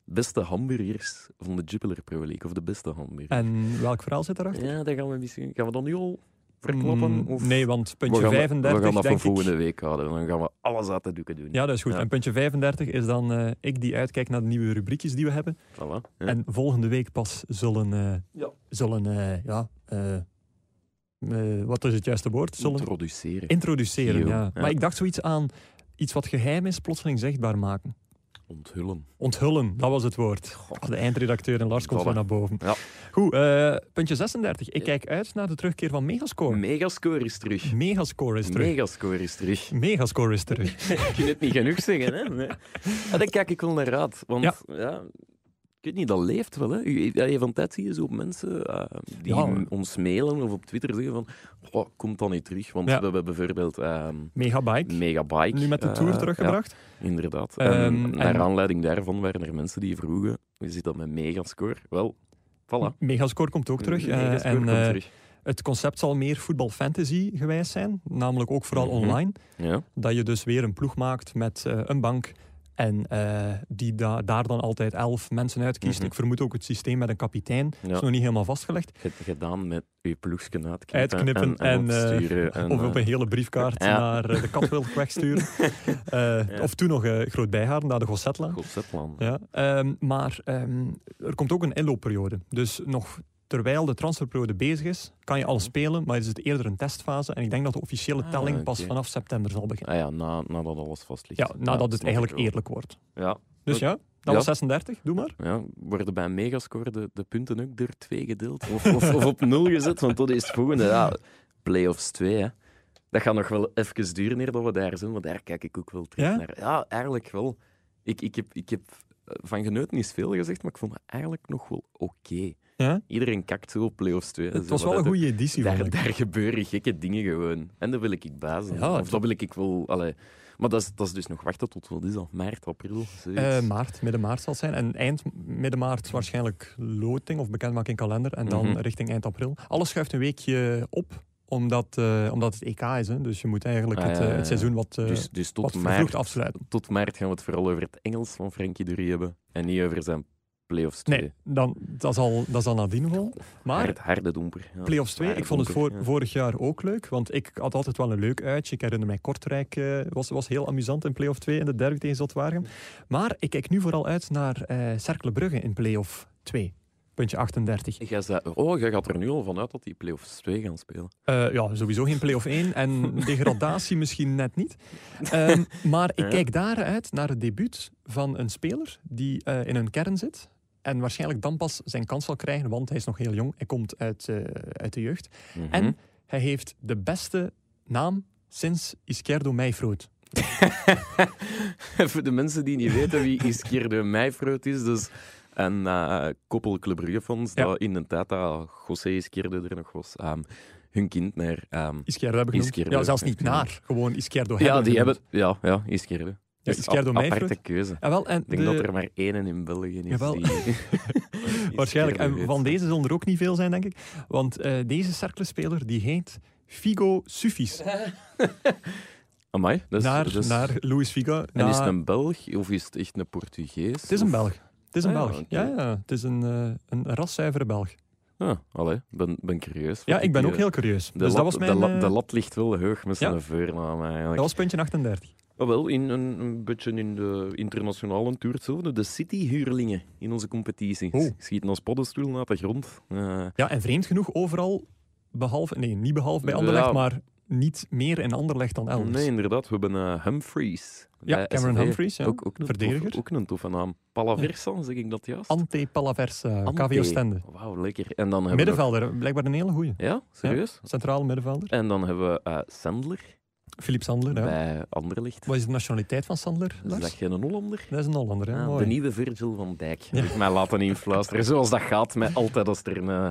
[SPEAKER 2] beste hamburgers van de Jupiler Pro League. Of de beste hamburger.
[SPEAKER 1] En welk verhaal zit erachter?
[SPEAKER 2] Ja, daar gaan we misschien... Gaan we dan nu al verklappen?
[SPEAKER 1] Mm,
[SPEAKER 2] of...
[SPEAKER 1] Nee, want
[SPEAKER 2] We
[SPEAKER 1] puntje
[SPEAKER 2] gaan-
[SPEAKER 1] 35,
[SPEAKER 2] We gaan dat
[SPEAKER 1] denk
[SPEAKER 2] voor
[SPEAKER 1] ik...
[SPEAKER 2] volgende week houden. Dan gaan we alles uit de doeken doen.
[SPEAKER 1] Ja, dat is goed.
[SPEAKER 2] Ja.
[SPEAKER 1] En puntje 35 is dan eh, ik die uitkijk naar de nieuwe rubriekjes die we hebben.
[SPEAKER 2] Voilà. Ja.
[SPEAKER 1] En volgende week pas zullen... eh,
[SPEAKER 2] Ja.
[SPEAKER 1] Zullen, eh, ja... eh, eh, wat is het juiste woord? Zullen
[SPEAKER 2] introduceren.
[SPEAKER 1] introduceren,
[SPEAKER 2] Yo,
[SPEAKER 1] ja.
[SPEAKER 2] ja.
[SPEAKER 1] Maar ik dacht zoiets aan iets wat geheim is, plotseling zichtbaar maken.
[SPEAKER 2] Onthullen.
[SPEAKER 1] Onthullen, dat was het woord. Ah, de eindredacteur en Lars komt zo
[SPEAKER 2] Voilà.
[SPEAKER 1] naar boven.
[SPEAKER 2] Ja.
[SPEAKER 1] Goed, eh, puntje 36. Ik
[SPEAKER 2] Ja.
[SPEAKER 1] kijk uit naar de terugkeer van Megascore.
[SPEAKER 2] Megascore is terug.
[SPEAKER 1] Megascore is terug.
[SPEAKER 2] Megascore is terug.
[SPEAKER 1] Megascore is terug.
[SPEAKER 2] Ik kan het niet genoeg zeggen, hè? Nee. Ah, daar kijk ik wel naar uit. Want
[SPEAKER 1] Ja.
[SPEAKER 2] ja. ik weet niet, dat leeft wel. Hè? U- dat je van tijd zie je zo op mensen eh, die
[SPEAKER 1] Ja.
[SPEAKER 2] m- ons mailen of op Twitter zeggen van oh, komt dan niet terug, want
[SPEAKER 1] Ja.
[SPEAKER 2] we hebben bijvoorbeeld ehm,
[SPEAKER 1] Megabike.
[SPEAKER 2] Megabike.
[SPEAKER 1] Nu met de
[SPEAKER 2] eh,
[SPEAKER 1] tour teruggebracht.
[SPEAKER 2] Ja, inderdaad. en
[SPEAKER 1] Ehm,
[SPEAKER 2] naar
[SPEAKER 1] en-
[SPEAKER 2] aanleiding daarvan waren er mensen die vroegen, hoe zit dat met Megascore? Wel, voilà.
[SPEAKER 1] Megascore komt ook terug. eh,
[SPEAKER 2] Megascore
[SPEAKER 1] en
[SPEAKER 2] komt
[SPEAKER 1] eh,
[SPEAKER 2] terug.
[SPEAKER 1] het concept zal meer voetbal fantasy gewijs zijn, namelijk ook vooral
[SPEAKER 2] Mhm.
[SPEAKER 1] online.
[SPEAKER 2] Ja.
[SPEAKER 1] Dat je dus weer een ploeg maakt met eh, een bank en eh, die da- daar dan altijd elf mensen uitkiest.
[SPEAKER 2] Mhm.
[SPEAKER 1] Ik vermoed ook het systeem met een kapitein. Dat is
[SPEAKER 2] Ja.
[SPEAKER 1] nog niet helemaal vastgelegd.
[SPEAKER 2] Ge- gedaan met je ploegsken uitknippen,
[SPEAKER 1] Uitknippen
[SPEAKER 2] en, en,
[SPEAKER 1] en, eh,
[SPEAKER 2] opsturen.
[SPEAKER 1] (laughs)
[SPEAKER 2] en,
[SPEAKER 1] of op
[SPEAKER 2] eh,
[SPEAKER 1] een hele briefkaart
[SPEAKER 2] ja.
[SPEAKER 1] naar eh, de
[SPEAKER 2] (laughs)
[SPEAKER 1] Katwilk wegsturen. Eh,
[SPEAKER 2] Ja.
[SPEAKER 1] Of toen nog eh, Groot Bijhaar naar de Gossetla.
[SPEAKER 2] Godzetland.
[SPEAKER 1] Ja, ehm, maar ehm, er komt ook een inloopperiode. Dus nog terwijl de transferperiode bezig is, kan je al spelen, maar is het eerder een testfase. En ik denk dat de officiële
[SPEAKER 2] Mhm. Ah,
[SPEAKER 1] telling pas
[SPEAKER 2] oké.
[SPEAKER 1] vanaf september zal beginnen.
[SPEAKER 2] Ah ja, na, nadat alles vast ligt.
[SPEAKER 1] Ja, nadat het
[SPEAKER 2] snap ik
[SPEAKER 1] eigenlijk
[SPEAKER 2] wel.
[SPEAKER 1] eerlijk wordt.
[SPEAKER 2] Ja,
[SPEAKER 1] Dus
[SPEAKER 2] Oké.
[SPEAKER 1] ja, dat
[SPEAKER 2] Ja.
[SPEAKER 1] was 36, doe maar.
[SPEAKER 2] ja, worden bij Megascore de, de punten ook door twee gedeeld? Of, of, of op nul gezet, want dat is het volgende. Ja, playoffs 2, hè. Dat gaat nog wel even duren eer dat we daar zijn, want daar kijk ik ook wel terug
[SPEAKER 1] Ja?
[SPEAKER 2] naar. Ja, eigenlijk wel. Ik, ik, heb, ik heb eh, van genoten is veel gezegd, maar ik vond het eigenlijk nog wel oké.
[SPEAKER 1] Ja?
[SPEAKER 2] Iedereen kakt zo op playoffs 2.
[SPEAKER 1] Het was wel een goede editie,
[SPEAKER 2] Daar,
[SPEAKER 1] vond ik.
[SPEAKER 2] daar gebeuren gekke dingen gewoon. En daar wil ik ik bij zijn.
[SPEAKER 1] Ja,
[SPEAKER 2] of
[SPEAKER 1] het-
[SPEAKER 2] dat wil ik ik wel... Allee. Maar dat is, dat is dus nog wachten tot, wat is dat? Maart, april? zoiets.
[SPEAKER 1] Eh, maart, midden maart zal het zijn. En eind midden maart waarschijnlijk loting of bekendmaking kalender. En dan
[SPEAKER 2] Mhm.
[SPEAKER 1] richting eind april. Alles schuift een weekje op, omdat, eh, omdat het EK is. Hè. Dus je moet eigenlijk
[SPEAKER 2] Ah,
[SPEAKER 1] het, eh,
[SPEAKER 2] ja, ja,
[SPEAKER 1] het
[SPEAKER 2] ja.
[SPEAKER 1] seizoen wat, eh,
[SPEAKER 2] dus dus tot,
[SPEAKER 1] wat vervroegd
[SPEAKER 2] maart,
[SPEAKER 1] afsluiten.
[SPEAKER 2] tot maart gaan we het vooral over het Engels van Frankie Durie hebben. En niet over zijn playoffs 2.
[SPEAKER 1] Nee, dan, dat, zal, dat zal nadien wel. Maar
[SPEAKER 2] Harde, harde domper. Ja.
[SPEAKER 1] playoffs 2,
[SPEAKER 2] Harde
[SPEAKER 1] ik vond het
[SPEAKER 2] domper,
[SPEAKER 1] voor,
[SPEAKER 2] ja.
[SPEAKER 1] vorig jaar ook leuk. Want ik had altijd wel een leuk uitje. Ik herinner mij Kortrijk. eh was, was heel amusant in playoff 2 in de derby tegen Zotwaargem. Maar ik kijk nu vooral uit naar eh Cercle Brugge in playoff 2. Puntje 38.
[SPEAKER 2] Jij zei, oh, jij gaat er nu al vanuit dat die playoffs 2 gaan spelen.
[SPEAKER 1] Eh, ja, sowieso geen play-off 1
[SPEAKER 2] (laughs)
[SPEAKER 1] en degradatie misschien net niet. Ehm, maar ik
[SPEAKER 2] Ja.
[SPEAKER 1] kijk daaruit naar het debuut van een speler die eh, in een kern zit. En waarschijnlijk dan pas zijn kans zal krijgen, want hij is nog heel jong. Hij komt uit, eh, uit de jeugd.
[SPEAKER 2] Mhm.
[SPEAKER 1] En hij heeft de beste naam sinds Izquierdo Meifroot.
[SPEAKER 2] (laughs) Voor de mensen die niet weten wie Iskirde Meifroot is, dus En uh, koppel Club Brugge fonds,
[SPEAKER 1] Ja.
[SPEAKER 2] dat in de tijd dat José Izquierdo er nog was, ehm, hun kind naar... ehm,
[SPEAKER 1] Izquierdo hebben genoemd.
[SPEAKER 2] Izquierdo.
[SPEAKER 1] Ja, zelfs niet naar. Gewoon Izquierdo
[SPEAKER 2] ja,
[SPEAKER 1] hebben
[SPEAKER 2] die
[SPEAKER 1] genoemd.
[SPEAKER 2] hebben... Ja, ja, Izquierdo. Dat is
[SPEAKER 1] Izquierdo
[SPEAKER 2] een
[SPEAKER 1] Meijfert.
[SPEAKER 2] aparte keuze.
[SPEAKER 1] Ja, wel, en
[SPEAKER 2] Ik denk
[SPEAKER 1] de-
[SPEAKER 2] dat er maar één in België is.
[SPEAKER 1] Jawel.
[SPEAKER 2] die- (laughs) Izquierdo
[SPEAKER 1] waarschijnlijk. En
[SPEAKER 2] heet.
[SPEAKER 1] van deze zullen er ook niet veel zijn, denk ik. Want eh, deze cerkelspeler die heet Figo Sufis.
[SPEAKER 2] Amai, dat is...
[SPEAKER 1] naar,
[SPEAKER 2] dat is-
[SPEAKER 1] naar Luis Figo.
[SPEAKER 2] En is het
[SPEAKER 1] naar-
[SPEAKER 2] een Belg of is het echt een Portugees?
[SPEAKER 1] Het is een
[SPEAKER 2] Of-
[SPEAKER 1] Belg. Het is een
[SPEAKER 2] Ah, ja,
[SPEAKER 1] Belg.
[SPEAKER 2] oké.
[SPEAKER 1] Ja, ja, het is een, eh een raszuivere Belg.
[SPEAKER 2] Ah, allee, ben, ben curieus.
[SPEAKER 1] Ja,
[SPEAKER 2] want
[SPEAKER 1] ik ben
[SPEAKER 2] eh,
[SPEAKER 1] ook heel curieus.
[SPEAKER 2] De,
[SPEAKER 1] dus
[SPEAKER 2] lat,
[SPEAKER 1] dat was mijn...
[SPEAKER 2] de, lat,
[SPEAKER 1] eh,
[SPEAKER 2] de lat ligt wel hoog met zijn
[SPEAKER 1] ja.
[SPEAKER 2] voornaam eigenlijk.
[SPEAKER 1] dat was puntje 38.
[SPEAKER 2] Ah, wel, in, een, een beetje in de internationale tour hetzelfde. De City-huurlingen in onze competitie.
[SPEAKER 1] Oh. Ah,
[SPEAKER 2] Schieten als paddenstoel naar de grond. Eh,
[SPEAKER 1] Ja, en vreemd genoeg overal, behalve... Nee, niet behalve bij Anderlecht,
[SPEAKER 2] Ja.
[SPEAKER 1] maar niet meer in Anderlecht dan elders.
[SPEAKER 2] nee, inderdaad. We hebben eh, Humphries.
[SPEAKER 1] ja,
[SPEAKER 2] bij
[SPEAKER 1] Cameron
[SPEAKER 2] SV.
[SPEAKER 1] Humphries, ja.
[SPEAKER 2] Ook, ook een
[SPEAKER 1] verdediger.
[SPEAKER 2] Toffe, ook een toffe naam. Palaversa, zeg ik dat juist?
[SPEAKER 1] Ante eh, Palaversa,
[SPEAKER 2] Ante. Oh,
[SPEAKER 1] KVO Stende.
[SPEAKER 2] Wauw, lekker. En dan hebben we
[SPEAKER 1] Middenvelder, blijkbaar een hele goeie.
[SPEAKER 2] nog- Ja, serieus?
[SPEAKER 1] Centraal middenvelder.
[SPEAKER 2] En dan hebben we eh, Sandler
[SPEAKER 1] Philippe Sandler, ja.
[SPEAKER 2] bij Anderlicht.
[SPEAKER 1] Wat is de nationaliteit van Sandler,
[SPEAKER 2] Is
[SPEAKER 1] Lars?
[SPEAKER 2] dat geen Hollander?
[SPEAKER 1] Dat is een Hollander, hè?
[SPEAKER 2] Ah,
[SPEAKER 1] Mooi.
[SPEAKER 2] de nieuwe Virgil van Dijk. Heb ik mij laten influisteren. Zoals dat gaat met altijd als er een, eh,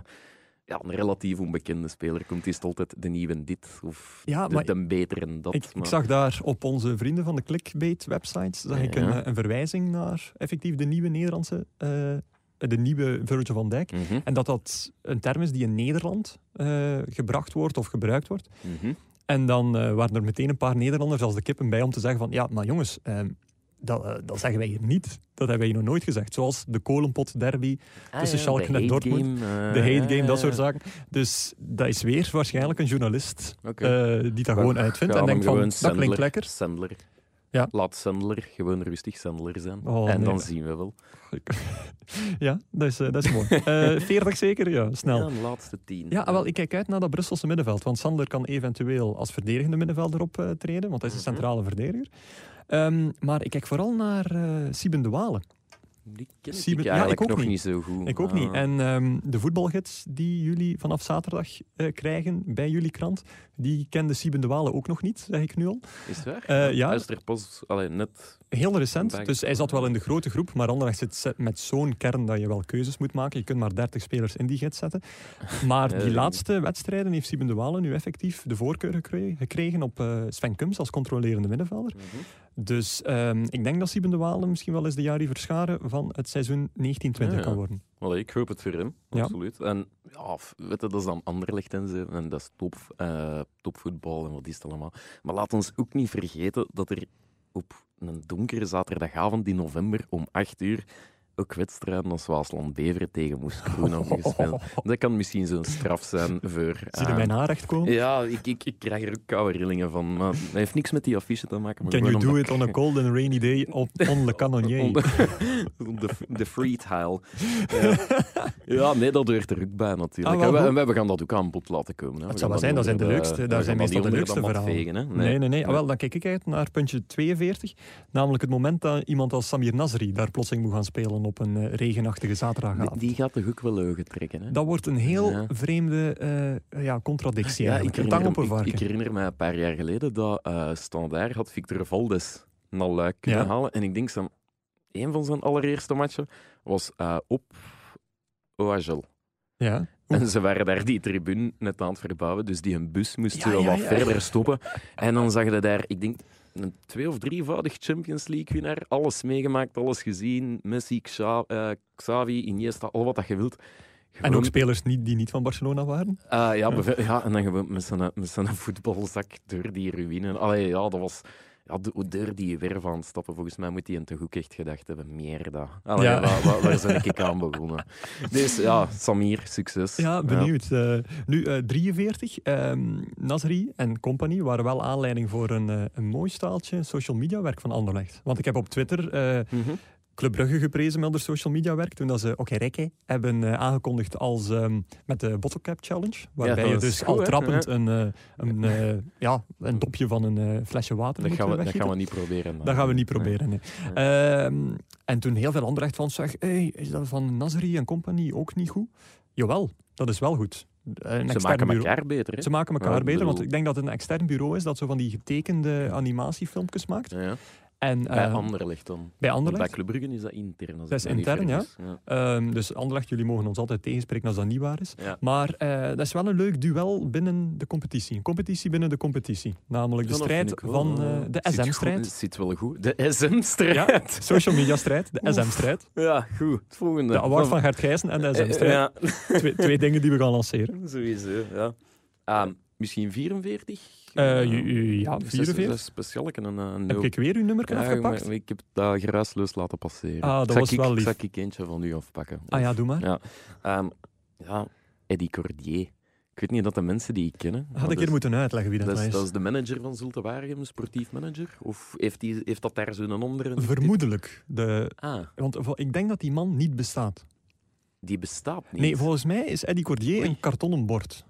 [SPEAKER 2] ja, een relatief onbekende speler komt, is het altijd de nieuwe dit of
[SPEAKER 1] Ja,
[SPEAKER 2] de,
[SPEAKER 1] maar
[SPEAKER 2] de betere dat.
[SPEAKER 1] Ik, ik
[SPEAKER 2] maar-
[SPEAKER 1] zag daar op onze vrienden van de clickbait-websites zag ik een,
[SPEAKER 2] Ja.
[SPEAKER 1] eh, een verwijzing naar effectief de nieuwe Nederlandse, eh, de nieuwe Virgil van Dijk.
[SPEAKER 2] Mhm,
[SPEAKER 1] En dat dat een term is die in Nederland eh, gebracht wordt of gebruikt wordt.
[SPEAKER 2] mhm.
[SPEAKER 1] En dan eh, waren er meteen een paar Nederlanders als de kippen bij om te zeggen van ja, maar jongens, ehm, dat, eh, dat zeggen wij hier niet. Dat hebben wij hier nog nooit gezegd. Zoals de kolenpot derby,
[SPEAKER 2] Ah,
[SPEAKER 1] Tussen
[SPEAKER 2] ja,
[SPEAKER 1] Schalke
[SPEAKER 2] de
[SPEAKER 1] en
[SPEAKER 2] hate
[SPEAKER 1] Dortmund,
[SPEAKER 2] game, eh,
[SPEAKER 1] de hate game,
[SPEAKER 2] ja,
[SPEAKER 1] dat soort
[SPEAKER 2] ja.
[SPEAKER 1] zaken. Dus dat is weer waarschijnlijk een journalist
[SPEAKER 2] Oké.
[SPEAKER 1] eh, die dat
[SPEAKER 2] We
[SPEAKER 1] gewoon uitvindt en
[SPEAKER 2] gaan
[SPEAKER 1] denkt van,
[SPEAKER 2] hem gewoon
[SPEAKER 1] dat klinkt
[SPEAKER 2] Sandler-
[SPEAKER 1] lekker.
[SPEAKER 2] Sandler.
[SPEAKER 1] Ja.
[SPEAKER 2] Laat Sandler gewoon rustig Sandler zijn.
[SPEAKER 1] Oh,
[SPEAKER 2] en
[SPEAKER 1] nee.
[SPEAKER 2] dan zien we wel.
[SPEAKER 1] Ja, dat is, eh, dat is mooi. Eh 40 zeker? Ja,
[SPEAKER 2] Ja,
[SPEAKER 1] snel.
[SPEAKER 2] een laatste tien.
[SPEAKER 1] Nou. Ja, ah, wel, ik kijk uit naar dat Brusselse middenveld. Want Sander kan eventueel als verdedigende middenvelder optreden, treden, want hij is een
[SPEAKER 2] Mhm.
[SPEAKER 1] centrale verdediger. Ehm, maar ik kijk vooral naar eh Sieben de Walen.
[SPEAKER 2] Eh, Die ken ik
[SPEAKER 1] Sieben- ja,
[SPEAKER 2] eigenlijk
[SPEAKER 1] ik ook
[SPEAKER 2] nog
[SPEAKER 1] niet.
[SPEAKER 2] niet. zo goed.
[SPEAKER 1] Ik ook
[SPEAKER 2] Ah.
[SPEAKER 1] niet. En ehm, de voetbalgids die jullie vanaf zaterdag eh, krijgen bij jullie krant, die kende Sieben de Walen ook nog niet, zeg ik nu al.
[SPEAKER 2] Is het waar?
[SPEAKER 1] Eh, ja.
[SPEAKER 2] Hij is er pas allee, net
[SPEAKER 1] Heel recent,
[SPEAKER 2] Dank.
[SPEAKER 1] dus hij zat wel in de grote groep, maar Anderlecht zit ze- met zo'n kern dat je wel keuzes moet maken. Je kunt maar 30 spelers in die gids zetten. Maar
[SPEAKER 2] Ja,
[SPEAKER 1] die
[SPEAKER 2] dat-
[SPEAKER 1] laatste wedstrijden heeft Sieben de Walen nu effectief de voorkeur gekre- gekregen op eh, Sven Kums als controlerende middenvelder. Dus ehm, ik denk dat Sieben de Walen misschien wel eens de Jari Verscharen van het seizoen 1920
[SPEAKER 2] Ja, ja.
[SPEAKER 1] kan worden.
[SPEAKER 2] Allee, ik hoop het voor hem,
[SPEAKER 1] Ja.
[SPEAKER 2] absoluut. En ja, f- weet je, dat is dan Anderlecht en zo, en dat is top, eh, topvoetbal en wat is het allemaal. Maar laat ons ook niet vergeten dat er op een donkere zaterdagavond in november om 8 uur ook wedstrijden als Waasland-Beveren tegen moest groen
[SPEAKER 1] (laughs)
[SPEAKER 2] gespeeld. Dat kan misschien zo'n straf zijn voor...
[SPEAKER 1] Zie je
[SPEAKER 2] eh,
[SPEAKER 1] mijn haar echt komen?
[SPEAKER 2] ja, ik, ik, ik krijg er ook koude rillingen van. Maar het heeft niks met die affiche te maken. Maar
[SPEAKER 1] Can you
[SPEAKER 2] gewoon
[SPEAKER 1] do
[SPEAKER 2] omdat
[SPEAKER 1] it on a
[SPEAKER 2] (laughs)
[SPEAKER 1] cold and rainy day op, on Le Canonier? (laughs)
[SPEAKER 2] Om de, om de, de free tile. Ja. ja, nee, dat hoort er ook bij natuurlijk.
[SPEAKER 1] Ah, wel
[SPEAKER 2] en,
[SPEAKER 1] goed.
[SPEAKER 2] we, en we gaan dat ook aan bod laten komen. Hè. We
[SPEAKER 1] Het
[SPEAKER 2] gaan
[SPEAKER 1] zal wel zijn, dat zijn de
[SPEAKER 2] onder
[SPEAKER 1] leukste.
[SPEAKER 2] we
[SPEAKER 1] Daar
[SPEAKER 2] gaan
[SPEAKER 1] zijn
[SPEAKER 2] dat
[SPEAKER 1] meestal de
[SPEAKER 2] niet onder
[SPEAKER 1] leukste
[SPEAKER 2] mat
[SPEAKER 1] verhalen.
[SPEAKER 2] vegen, hè.
[SPEAKER 1] Nee,
[SPEAKER 2] Nee.
[SPEAKER 1] nee, nee. Ah,
[SPEAKER 2] Nee.
[SPEAKER 1] wel, dan kijk ik uit naar puntje 42. Namelijk het moment dat iemand als Samir Nasri daar plotseling moet gaan spelen op een eh, regenachtige
[SPEAKER 2] Die-
[SPEAKER 1] zaterdagavond.
[SPEAKER 2] Die gaat de hoek wel ogen trekken. Hè.
[SPEAKER 1] Dat wordt een heel
[SPEAKER 2] Ja.
[SPEAKER 1] vreemde eh, ja, contradictie eigenlijk. Een tang op een
[SPEAKER 2] herinner, ik,
[SPEAKER 1] varken.
[SPEAKER 2] ik herinner me een paar jaar geleden dat eh Standaard had Victor Valdes naar Luik kunnen
[SPEAKER 1] Ja.
[SPEAKER 2] halen. En ik denk, zijn, een van zijn allereerste matchen was eh, op Oagel.
[SPEAKER 1] ja.
[SPEAKER 2] En ze waren daar die tribune net aan het verbouwen, dus die een bus moest
[SPEAKER 1] Ja,
[SPEAKER 2] zo wel
[SPEAKER 1] ja,
[SPEAKER 2] wat
[SPEAKER 1] ja.
[SPEAKER 2] verder stoppen. En dan zag je daar, ik denk, een twee- of drievoudig Champions League-winnaar. Alles meegemaakt, alles gezien. Messi, Xa- eh, Xavi, Iniesta, al wat dat je wilt.
[SPEAKER 1] En
[SPEAKER 2] Gewoon-
[SPEAKER 1] ook spelers niet, die niet van Barcelona waren.
[SPEAKER 2] eh, ja, beve- ja, en dan gewoon met zijn, met zijn (laughs) voetbalzak door die ruïne. Allee, ja, dat was... Ja, do- door die werf aan het stappen, volgens mij moet hij een te goed echt gedacht hebben. Meer dan. Allee,
[SPEAKER 1] Ja.
[SPEAKER 2] waar, waar, waar ben ik aan begonnen? Dus ja, Samir, succes.
[SPEAKER 1] Ja, benieuwd. Eh, nu eh, 43. ehm, Nasri en compagnie waren wel aanleiding voor een, eh, een mooi staaltje social media werk van Anderlecht. Want ik heb op Twitter eh,
[SPEAKER 2] Mhm.
[SPEAKER 1] Club Brugge geprezen met haar social media werk. Toen dat ze Oké Rekke hebben eh, aangekondigd als, ehm, met de Bottle Cap Challenge. Waarbij
[SPEAKER 2] dat
[SPEAKER 1] je
[SPEAKER 2] is
[SPEAKER 1] dus
[SPEAKER 2] goed,
[SPEAKER 1] al
[SPEAKER 2] hè?
[SPEAKER 1] trappend een, eh, een, eh, ja, een dopje van een eh, flesje water
[SPEAKER 2] Dat
[SPEAKER 1] moet
[SPEAKER 2] gaan, we, dat
[SPEAKER 1] weggieten.
[SPEAKER 2] gaan we niet proberen. maar-
[SPEAKER 1] Dat gaan we niet proberen. nee.
[SPEAKER 2] Nee.
[SPEAKER 1] Ehm, en toen heel veel anderen echt van zeg, hey, is dat van Nasri en compagnie ook niet goed? Jawel, dat is wel goed. Eh, Een
[SPEAKER 2] Ze
[SPEAKER 1] extern
[SPEAKER 2] maken
[SPEAKER 1] bureau-
[SPEAKER 2] elkaar beter, hè?
[SPEAKER 1] Ze maken elkaar
[SPEAKER 2] Ja, ik
[SPEAKER 1] beter, want
[SPEAKER 2] bedoel-
[SPEAKER 1] ik denk dat het een extern bureau is dat zo van die getekende animatiefilmpjes maakt.
[SPEAKER 2] Ja, ja.
[SPEAKER 1] En,
[SPEAKER 2] Bij
[SPEAKER 1] eh,
[SPEAKER 2] Anderlecht dan.
[SPEAKER 1] bij
[SPEAKER 2] Want Bij
[SPEAKER 1] Anderlecht.
[SPEAKER 2] Club Brugge is dat intern. Als
[SPEAKER 1] Dat is
[SPEAKER 2] ik mij niet
[SPEAKER 1] intern,
[SPEAKER 2] vergis. ja.
[SPEAKER 1] Ehm, dus Anderlecht, jullie mogen ons altijd tegenspreken als dat niet waar is.
[SPEAKER 2] Ja.
[SPEAKER 1] Maar eh, dat is wel een leuk duel binnen de competitie. Een competitie binnen de competitie. Namelijk de
[SPEAKER 2] Ja, dat
[SPEAKER 1] strijd
[SPEAKER 2] vind ik wel,
[SPEAKER 1] van
[SPEAKER 2] eh,
[SPEAKER 1] eh, de
[SPEAKER 2] zit goed-
[SPEAKER 1] SM-strijd.
[SPEAKER 2] Het zit wel goed. De SM-strijd.
[SPEAKER 1] Social media-strijd, de SM-strijd.
[SPEAKER 2] Ja. goed. Het volgende.
[SPEAKER 1] De award van Gert Gijssen en de SM-strijd.
[SPEAKER 2] Eh, Ja,
[SPEAKER 1] Twee, twee dingen die we gaan lanceren.
[SPEAKER 2] sowieso. Ja. Ehm, misschien 44?
[SPEAKER 1] Eh, ju- ju- ja,
[SPEAKER 2] Dus Dat is- dat is
[SPEAKER 1] 44.
[SPEAKER 2] speciaal en een eh,
[SPEAKER 1] Heb
[SPEAKER 2] nul.
[SPEAKER 1] ik weer uw nummer
[SPEAKER 2] Ja,
[SPEAKER 1] afgepakt?
[SPEAKER 2] maar ik heb dat geruisloos laten passeren.
[SPEAKER 1] Ah, dat
[SPEAKER 2] Zal
[SPEAKER 1] was
[SPEAKER 2] ik,
[SPEAKER 1] wel lief.
[SPEAKER 2] Zal ik eentje van u afpakken?
[SPEAKER 1] Ah ja, doe maar.
[SPEAKER 2] Ja. Ehm, ja, Eddie Cordier. Ik weet niet dat de mensen die ik kennen... maar
[SPEAKER 1] Had ik
[SPEAKER 2] dat is-
[SPEAKER 1] hier moeten uitleggen wie dat,
[SPEAKER 2] dat is,
[SPEAKER 1] is.
[SPEAKER 2] dat is de manager van Zulte Waregem, sportief manager? Of heeft, die, heeft dat daar zo'n andere...
[SPEAKER 1] Vermoedelijk. De,
[SPEAKER 2] Ah,
[SPEAKER 1] want vo- ik denk dat die man niet bestaat.
[SPEAKER 2] die bestaat niet.
[SPEAKER 1] Nee, volgens mij is Eddie Cordier
[SPEAKER 2] Oei.
[SPEAKER 1] een kartonnen bord.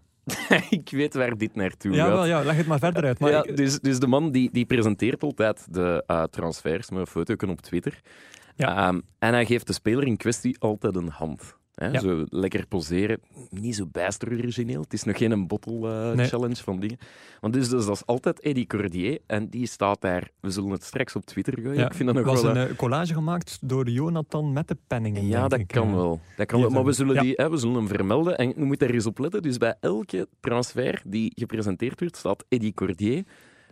[SPEAKER 2] (laughs) ik weet waar dit naartoe
[SPEAKER 1] Ja,
[SPEAKER 2] gaat.
[SPEAKER 1] wel, ja, leg het maar verder uit. Maar
[SPEAKER 2] ja,
[SPEAKER 1] ik-
[SPEAKER 2] dus, dus de man die, die presenteert altijd de eh, transfers met een foto op Twitter.
[SPEAKER 1] Ja.
[SPEAKER 2] Ehm, en hij geeft de speler in kwestie altijd een hand. Hè,
[SPEAKER 1] Ja.
[SPEAKER 2] Zo lekker poseren. Niet zo bijster origineel. Het is nog geen een bottle eh,
[SPEAKER 1] Nee.
[SPEAKER 2] challenge van dingen. Want dus, dus dat is altijd Eddie Cordier. En die staat daar. We zullen het straks op Twitter gooien.
[SPEAKER 1] Ja,
[SPEAKER 2] Ik vind dat nog
[SPEAKER 1] Er was
[SPEAKER 2] wel...
[SPEAKER 1] een
[SPEAKER 2] eh,
[SPEAKER 1] eh, collage gemaakt door Jonathan met de penningen.
[SPEAKER 2] ja,
[SPEAKER 1] denk
[SPEAKER 2] dat
[SPEAKER 1] ik.
[SPEAKER 2] kan
[SPEAKER 1] Eh,
[SPEAKER 2] wel. Dat kan wel.
[SPEAKER 1] is
[SPEAKER 2] Maar we
[SPEAKER 1] hem.
[SPEAKER 2] zullen,
[SPEAKER 1] Ja.
[SPEAKER 2] die, hè, we zullen hem vermelden. En je moet daar eens op letten. Dus bij elke transfer die gepresenteerd wordt, staat Eddie Cordier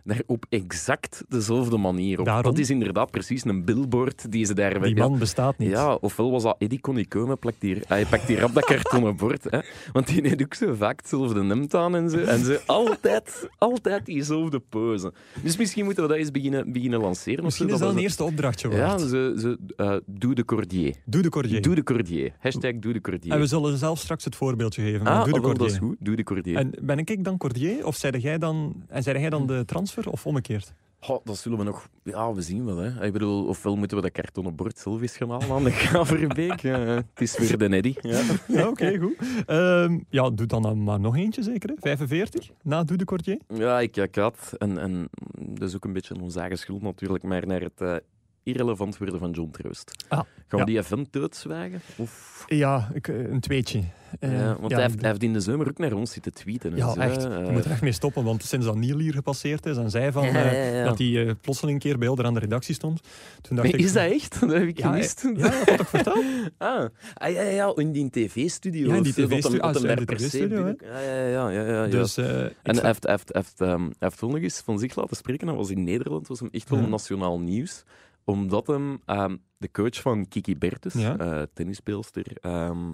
[SPEAKER 2] daar op exact dezelfde manier op.
[SPEAKER 1] Daarom?
[SPEAKER 2] Dat is inderdaad precies een billboard die ze daar...
[SPEAKER 1] Die man bestaat niet.
[SPEAKER 2] Ja, ofwel was dat Eddie kon niet komen, plakt hier, hij pakt hier op dat kartonnen (laughs) bord. Hè. Want die heeft ook zo vaak hetzelfde hemd aan en zo. En ze altijd, altijd diezelfde pose. Dus misschien moeten we dat eens beginnen, beginnen lanceren. of
[SPEAKER 1] Misschien
[SPEAKER 2] zo,
[SPEAKER 1] is dat een
[SPEAKER 2] we
[SPEAKER 1] eerste opdrachtje
[SPEAKER 2] zo- Ja,
[SPEAKER 1] waard.
[SPEAKER 2] ze, ze, eh, doe de cordier.
[SPEAKER 1] Doe de Cordier.
[SPEAKER 2] Doe de cordier. Hashtag doe de cordier.
[SPEAKER 1] En we zullen zelf straks het voorbeeldje geven. maar
[SPEAKER 2] ah,
[SPEAKER 1] doe de
[SPEAKER 2] ah, wel,
[SPEAKER 1] Cordier.
[SPEAKER 2] dat is goed. Doe de cordier.
[SPEAKER 1] En ben ik dan Cordier of zeide jij dan, en zeide jij dan de transfer of omgekeerd?
[SPEAKER 2] Goh, dat zullen we nog... Ja, we zien wel. Hè. Ik bedoel, ofwel moeten we dat kartonnen bord zelf eens gaan halen aan de (laughs) Graverbeek. Eh, het is weer de Eddy. (laughs) Ja.
[SPEAKER 1] Ja, oké, goed. Ehm, ja, doe dan dan maar nog eentje zeker. Hè? 45 na Doe de Cordier.
[SPEAKER 2] Ja, ik, ik had. En, en dat is ook een beetje onze eigen schuld natuurlijk, maar naar het eh, irrelevant worden van John Troost.
[SPEAKER 1] Ah,
[SPEAKER 2] Gaan we
[SPEAKER 1] ja.
[SPEAKER 2] die event doodzwijgen? Of...
[SPEAKER 1] Ja, ik, eh, een tweetje. Eh,
[SPEAKER 2] Ja, want
[SPEAKER 1] ja,
[SPEAKER 2] hij, heeft, hij heeft in de zomer ook naar ons zitten tweeten. en
[SPEAKER 1] ja,
[SPEAKER 2] zo,
[SPEAKER 1] echt.
[SPEAKER 2] hè.
[SPEAKER 1] Je
[SPEAKER 2] Eh,
[SPEAKER 1] moet er echt mee stoppen, want sinds dat Niel hier gepasseerd is en zij
[SPEAKER 2] (laughs)
[SPEAKER 1] van,
[SPEAKER 2] Ja,
[SPEAKER 1] eh,
[SPEAKER 2] ja, ja.
[SPEAKER 1] dat hij eh, plotseling een keer bij Elder aan de redactie stond, toen dacht
[SPEAKER 2] nee,
[SPEAKER 1] ik...
[SPEAKER 2] is dat echt? Dat heb ik
[SPEAKER 1] Ja,
[SPEAKER 2] gemist.
[SPEAKER 1] Ja, dat had ik verteld.
[SPEAKER 2] Ah, ah, ja, ja, ja, in die tv-studio.
[SPEAKER 1] Ja, in
[SPEAKER 2] of
[SPEAKER 1] die
[SPEAKER 2] zo, dat hem-
[SPEAKER 1] TV-studio.
[SPEAKER 2] dat
[SPEAKER 1] Ah,
[SPEAKER 2] hem
[SPEAKER 1] zo in
[SPEAKER 2] daar
[SPEAKER 1] die
[SPEAKER 2] per se
[SPEAKER 1] TV-studio, hè.
[SPEAKER 2] binnen- Ja, ja, ja. ja, (laughs) ja, ja.
[SPEAKER 1] Dus eh, ik
[SPEAKER 2] En hij
[SPEAKER 1] zag-
[SPEAKER 2] heeft, hij heeft, hij heeft, ehm, hij heeft toen nog eens van zich laten spreken. Hij was in Nederland, was hem echt wel
[SPEAKER 1] Ja.
[SPEAKER 2] nationaal nieuws. Omdat hem ehm, de coach van Kiki Bertens,
[SPEAKER 1] Ja.
[SPEAKER 2] eh, tennisspeelster, ehm,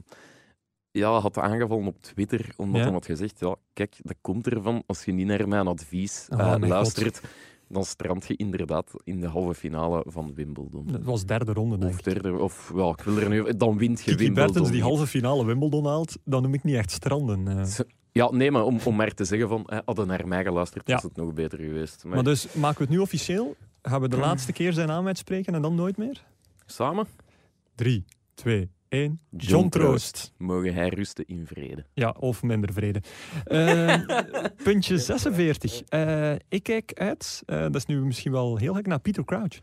[SPEAKER 2] ja, had aangevallen op Twitter. Omdat
[SPEAKER 1] Ja.
[SPEAKER 2] hij had gezegd, ja, kijk, dat komt ervan als je niet naar mijn advies
[SPEAKER 1] Oh,
[SPEAKER 2] eh,
[SPEAKER 1] mijn God.
[SPEAKER 2] luistert. Dan strand je inderdaad in de halve finale van Wimbledon.
[SPEAKER 1] dat was derde ronde, denk
[SPEAKER 2] Of
[SPEAKER 1] ik.
[SPEAKER 2] derde, of ja, ik wil er nu... Dan wint je
[SPEAKER 1] Kiki
[SPEAKER 2] Wimbledon.
[SPEAKER 1] Bertens die
[SPEAKER 2] niet.
[SPEAKER 1] halve finale Wimbledon haalt, dan noem ik niet echt stranden. eh.
[SPEAKER 2] Ja, nee, maar om, om maar te zeggen van, eh, hadden naar mij geluisterd,
[SPEAKER 1] Ja.
[SPEAKER 2] was het nog beter geweest. Maar,
[SPEAKER 1] Maar dus, maken we het nu officieel? Gaan we de laatste keer zijn naam uitspreken en dan nooit meer?
[SPEAKER 2] samen...
[SPEAKER 1] 3, 2, 1. John,
[SPEAKER 2] John
[SPEAKER 1] Troost.
[SPEAKER 2] Mogen hij rusten in vrede.
[SPEAKER 1] Ja, of minder vrede.
[SPEAKER 2] (laughs)
[SPEAKER 1] Eh, puntje 46. Eh, ik kijk uit, eh, dat is nu misschien wel heel gek, naar Peter Crouch.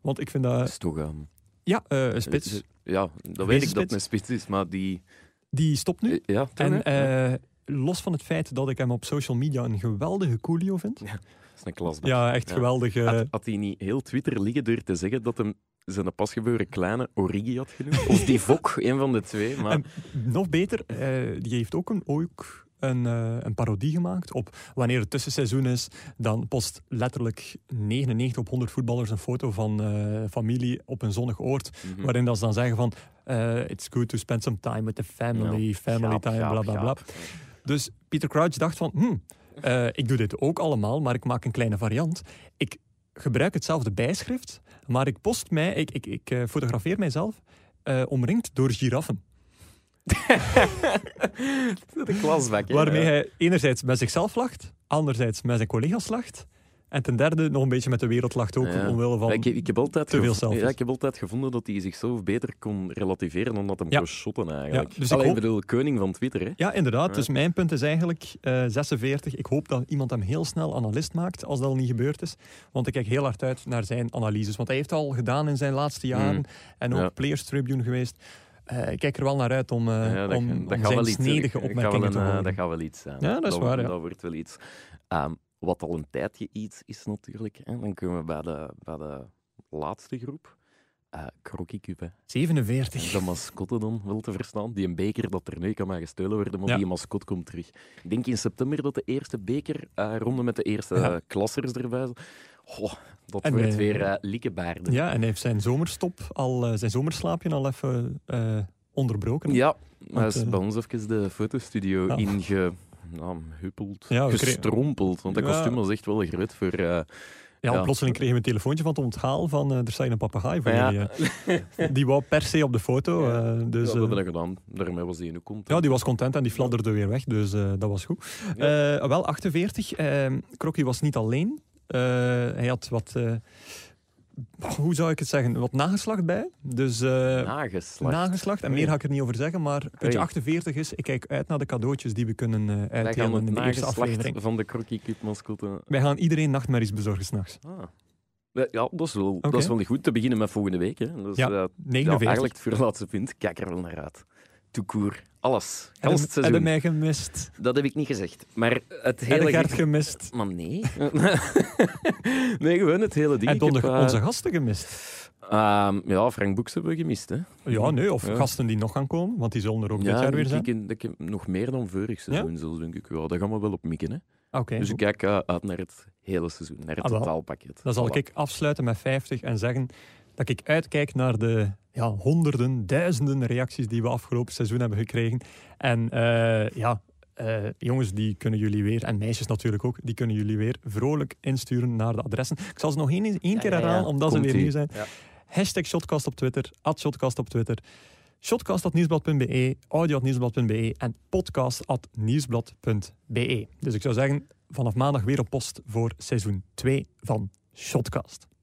[SPEAKER 1] Want ik vind dat...
[SPEAKER 2] is toch aan.
[SPEAKER 1] Ja, eh, een spits.
[SPEAKER 2] Ja,
[SPEAKER 1] Wees
[SPEAKER 2] dat weet ik dat
[SPEAKER 1] spits.
[SPEAKER 2] het een spits is, maar die...
[SPEAKER 1] Die stopt nu.
[SPEAKER 2] eh, Ja, toch,
[SPEAKER 1] En
[SPEAKER 2] hè? Ja,
[SPEAKER 1] eh, los van het feit dat ik hem op social media een geweldige coolio vind.
[SPEAKER 2] dat is een klasbak.
[SPEAKER 1] Ja, echt
[SPEAKER 2] Ja.
[SPEAKER 1] geweldig. eh,
[SPEAKER 2] Had, had hij niet heel Twitter liggen door te zeggen dat hem zijn pasgeboren kleine Origi had genoemd? Of die Vok, een van de twee.
[SPEAKER 1] (laughs)
[SPEAKER 2] Maar
[SPEAKER 1] En nog beter, eh, die heeft ook een, ook een, eh, een parodie gemaakt op wanneer het tussenseizoen is. Dan post letterlijk 99 op 100 voetballers een foto van eh, familie op een zonnig oord.
[SPEAKER 2] Mhm.
[SPEAKER 1] Waarin dat ze dan zeggen van, eh, it's good to spend some time with the family,
[SPEAKER 2] Ja.
[SPEAKER 1] family
[SPEAKER 2] Gaap,
[SPEAKER 1] time,
[SPEAKER 2] gaap,
[SPEAKER 1] bla bla bla.
[SPEAKER 2] gaap.
[SPEAKER 1] Dus Peter Crouch dacht van, hmm, eh, ik doe dit ook allemaal, maar ik maak een kleine variant. Ik gebruik hetzelfde bijschrift, maar ik post mij, ik, ik, ik eh, fotografeer mijzelf eh, omringd door giraffen.
[SPEAKER 2] De klasbak, hè?
[SPEAKER 1] Waarmee
[SPEAKER 2] Ja.
[SPEAKER 1] hij enerzijds met zichzelf lacht, anderzijds met zijn collega's lacht. En ten derde nog een beetje met de wereld lacht ook,
[SPEAKER 2] Ja.
[SPEAKER 1] omwille van...
[SPEAKER 2] Ja, ik, heb- ik heb altijd
[SPEAKER 1] te veel
[SPEAKER 2] gevo-
[SPEAKER 1] selfies.
[SPEAKER 2] ja, ik heb altijd gevonden dat hij zichzelf beter kon relativeren dan dat hem
[SPEAKER 1] Ja.
[SPEAKER 2] kon shotten eigenlijk.
[SPEAKER 1] Ja, dus ik
[SPEAKER 2] Allee, ik
[SPEAKER 1] hoop-
[SPEAKER 2] bedoel, koning van Twitter, hè?
[SPEAKER 1] Ja, inderdaad.
[SPEAKER 2] Ja.
[SPEAKER 1] Dus mijn punt is eigenlijk eh, 46. Ik hoop dat iemand hem heel snel analist maakt, als dat al niet gebeurd is. Want ik kijk heel hard uit naar zijn analyses. Want hij heeft al gedaan in zijn laatste jaren.
[SPEAKER 2] Mm.
[SPEAKER 1] En ook
[SPEAKER 2] Ja.
[SPEAKER 1] Players Tribune geweest. Eh, ik kijk er wel naar uit om, eh,
[SPEAKER 2] Ja, dat,
[SPEAKER 1] om,
[SPEAKER 2] dat
[SPEAKER 1] om
[SPEAKER 2] gaat
[SPEAKER 1] zijn
[SPEAKER 2] wel iets,
[SPEAKER 1] snedige
[SPEAKER 2] dat gaat
[SPEAKER 1] opmerkingen te
[SPEAKER 2] wel een, eh,
[SPEAKER 1] horen.
[SPEAKER 2] Dat gaat wel iets zijn.
[SPEAKER 1] Ja, dat is waar, ja.
[SPEAKER 2] Dat wordt wel iets. Ehm, wat al een tijdje iets is natuurlijk, hè, dan komen we bij de, bij de laatste groep. Uh, Crocky Cube.
[SPEAKER 1] 47.
[SPEAKER 2] De mascotte dan, wel te verstaan. Die een beker dat er nu kan maar gestolen worden, maar ja. die mascot komt terug. Ik denk in september dat de eerste bekerronde uh, met de eerste ja. uh, klassers erbij oh, dat en, wordt weer uh, likkebaarden.
[SPEAKER 1] eh, Ja, en hij heeft zijn zomerstop, al, eh, zijn zomerslaapje al even eh, onderbroken.
[SPEAKER 2] Ja, hij is
[SPEAKER 1] eh,
[SPEAKER 2] bij ons even de fotostudio ja. inge... Nou, huppeld, ja, gestrompeld. Want dat kostuum was echt wel groot voor... eh,
[SPEAKER 1] Ja, ja, plotseling kregen we een telefoontje van het onthaal van uh, er zijn een papegaai voor ja. jullie.
[SPEAKER 2] (laughs)
[SPEAKER 1] Uh, die wou per se op de foto. Uh, dus,
[SPEAKER 2] ja, dat hebben we gedaan. Daarmee was die nu content.
[SPEAKER 1] Ja, die was content en die fladderde weer weg, dus dat was goed. Eh, wel, 48. Krokkie was niet alleen. Eh, hij had wat... eh, hoe zou ik het zeggen? Wat nageslacht bij. Dus,
[SPEAKER 2] nageslacht?
[SPEAKER 1] Nageslacht. En meer ga ik er niet over zeggen, maar puntje 48 is... Ik kijk uit naar de cadeautjes die we kunnen uh, uitdelen in de eerste aflevering.
[SPEAKER 2] van de Krokkie Cube mascotte.
[SPEAKER 1] Wij gaan iedereen nachtmerries bezorgen s'nachts.
[SPEAKER 2] Ah. Ja, dat is, wel, okay. dat is wel goed te beginnen met volgende week. Hè. Dus,
[SPEAKER 1] ja,
[SPEAKER 2] uh, ja, eigenlijk het voorlaatste punt. Kijk er wel naar uit. Toekoer. Alles.
[SPEAKER 1] Alles het seizoen. Heb mij gemist?
[SPEAKER 2] Dat heb ik niet gezegd. Maar het hele...
[SPEAKER 1] Heb gemist?
[SPEAKER 2] Maar nee. (laughs) nee, gewoon het hele ding.
[SPEAKER 1] Heb je uh... onze gasten gemist?
[SPEAKER 2] Uh, ja, Frank Boeks hebben we gemist. Hè?
[SPEAKER 1] Ja, nee, of ja. gasten die nog gaan komen, want die zullen er ook
[SPEAKER 2] ja,
[SPEAKER 1] dit jaar weer zijn.
[SPEAKER 2] Ik, ik, ik, nog meer dan vorig seizoen, ja? zo denk ik wel. Daar gaan we wel op mikken. Hè?
[SPEAKER 1] Okay,
[SPEAKER 2] dus ik kijk uh, uit naar het hele seizoen, naar het ah, totaalpakket.
[SPEAKER 1] Dan zal voilà. ik afsluiten met 50 en zeggen dat ik uitkijk naar de ja, honderden, duizenden reacties die we afgelopen seizoen hebben gekregen. En uh, ja, uh, jongens, die kunnen jullie weer, en meisjes natuurlijk ook, die kunnen jullie weer vrolijk insturen naar de adressen. Ik zal ze nog één, één ja, keer herhalen, ja, ja. omdat Komt ze weer nieuw zijn. Hashtag Shotcast op Twitter, at Shotcast op Twitter, shotcast.nieuwsblad.be, audio.nieuwsblad.be en podcast.nieuwsblad.be. Dus ik zou zeggen, vanaf maandag weer op post voor seizoen 2 van Shotcast.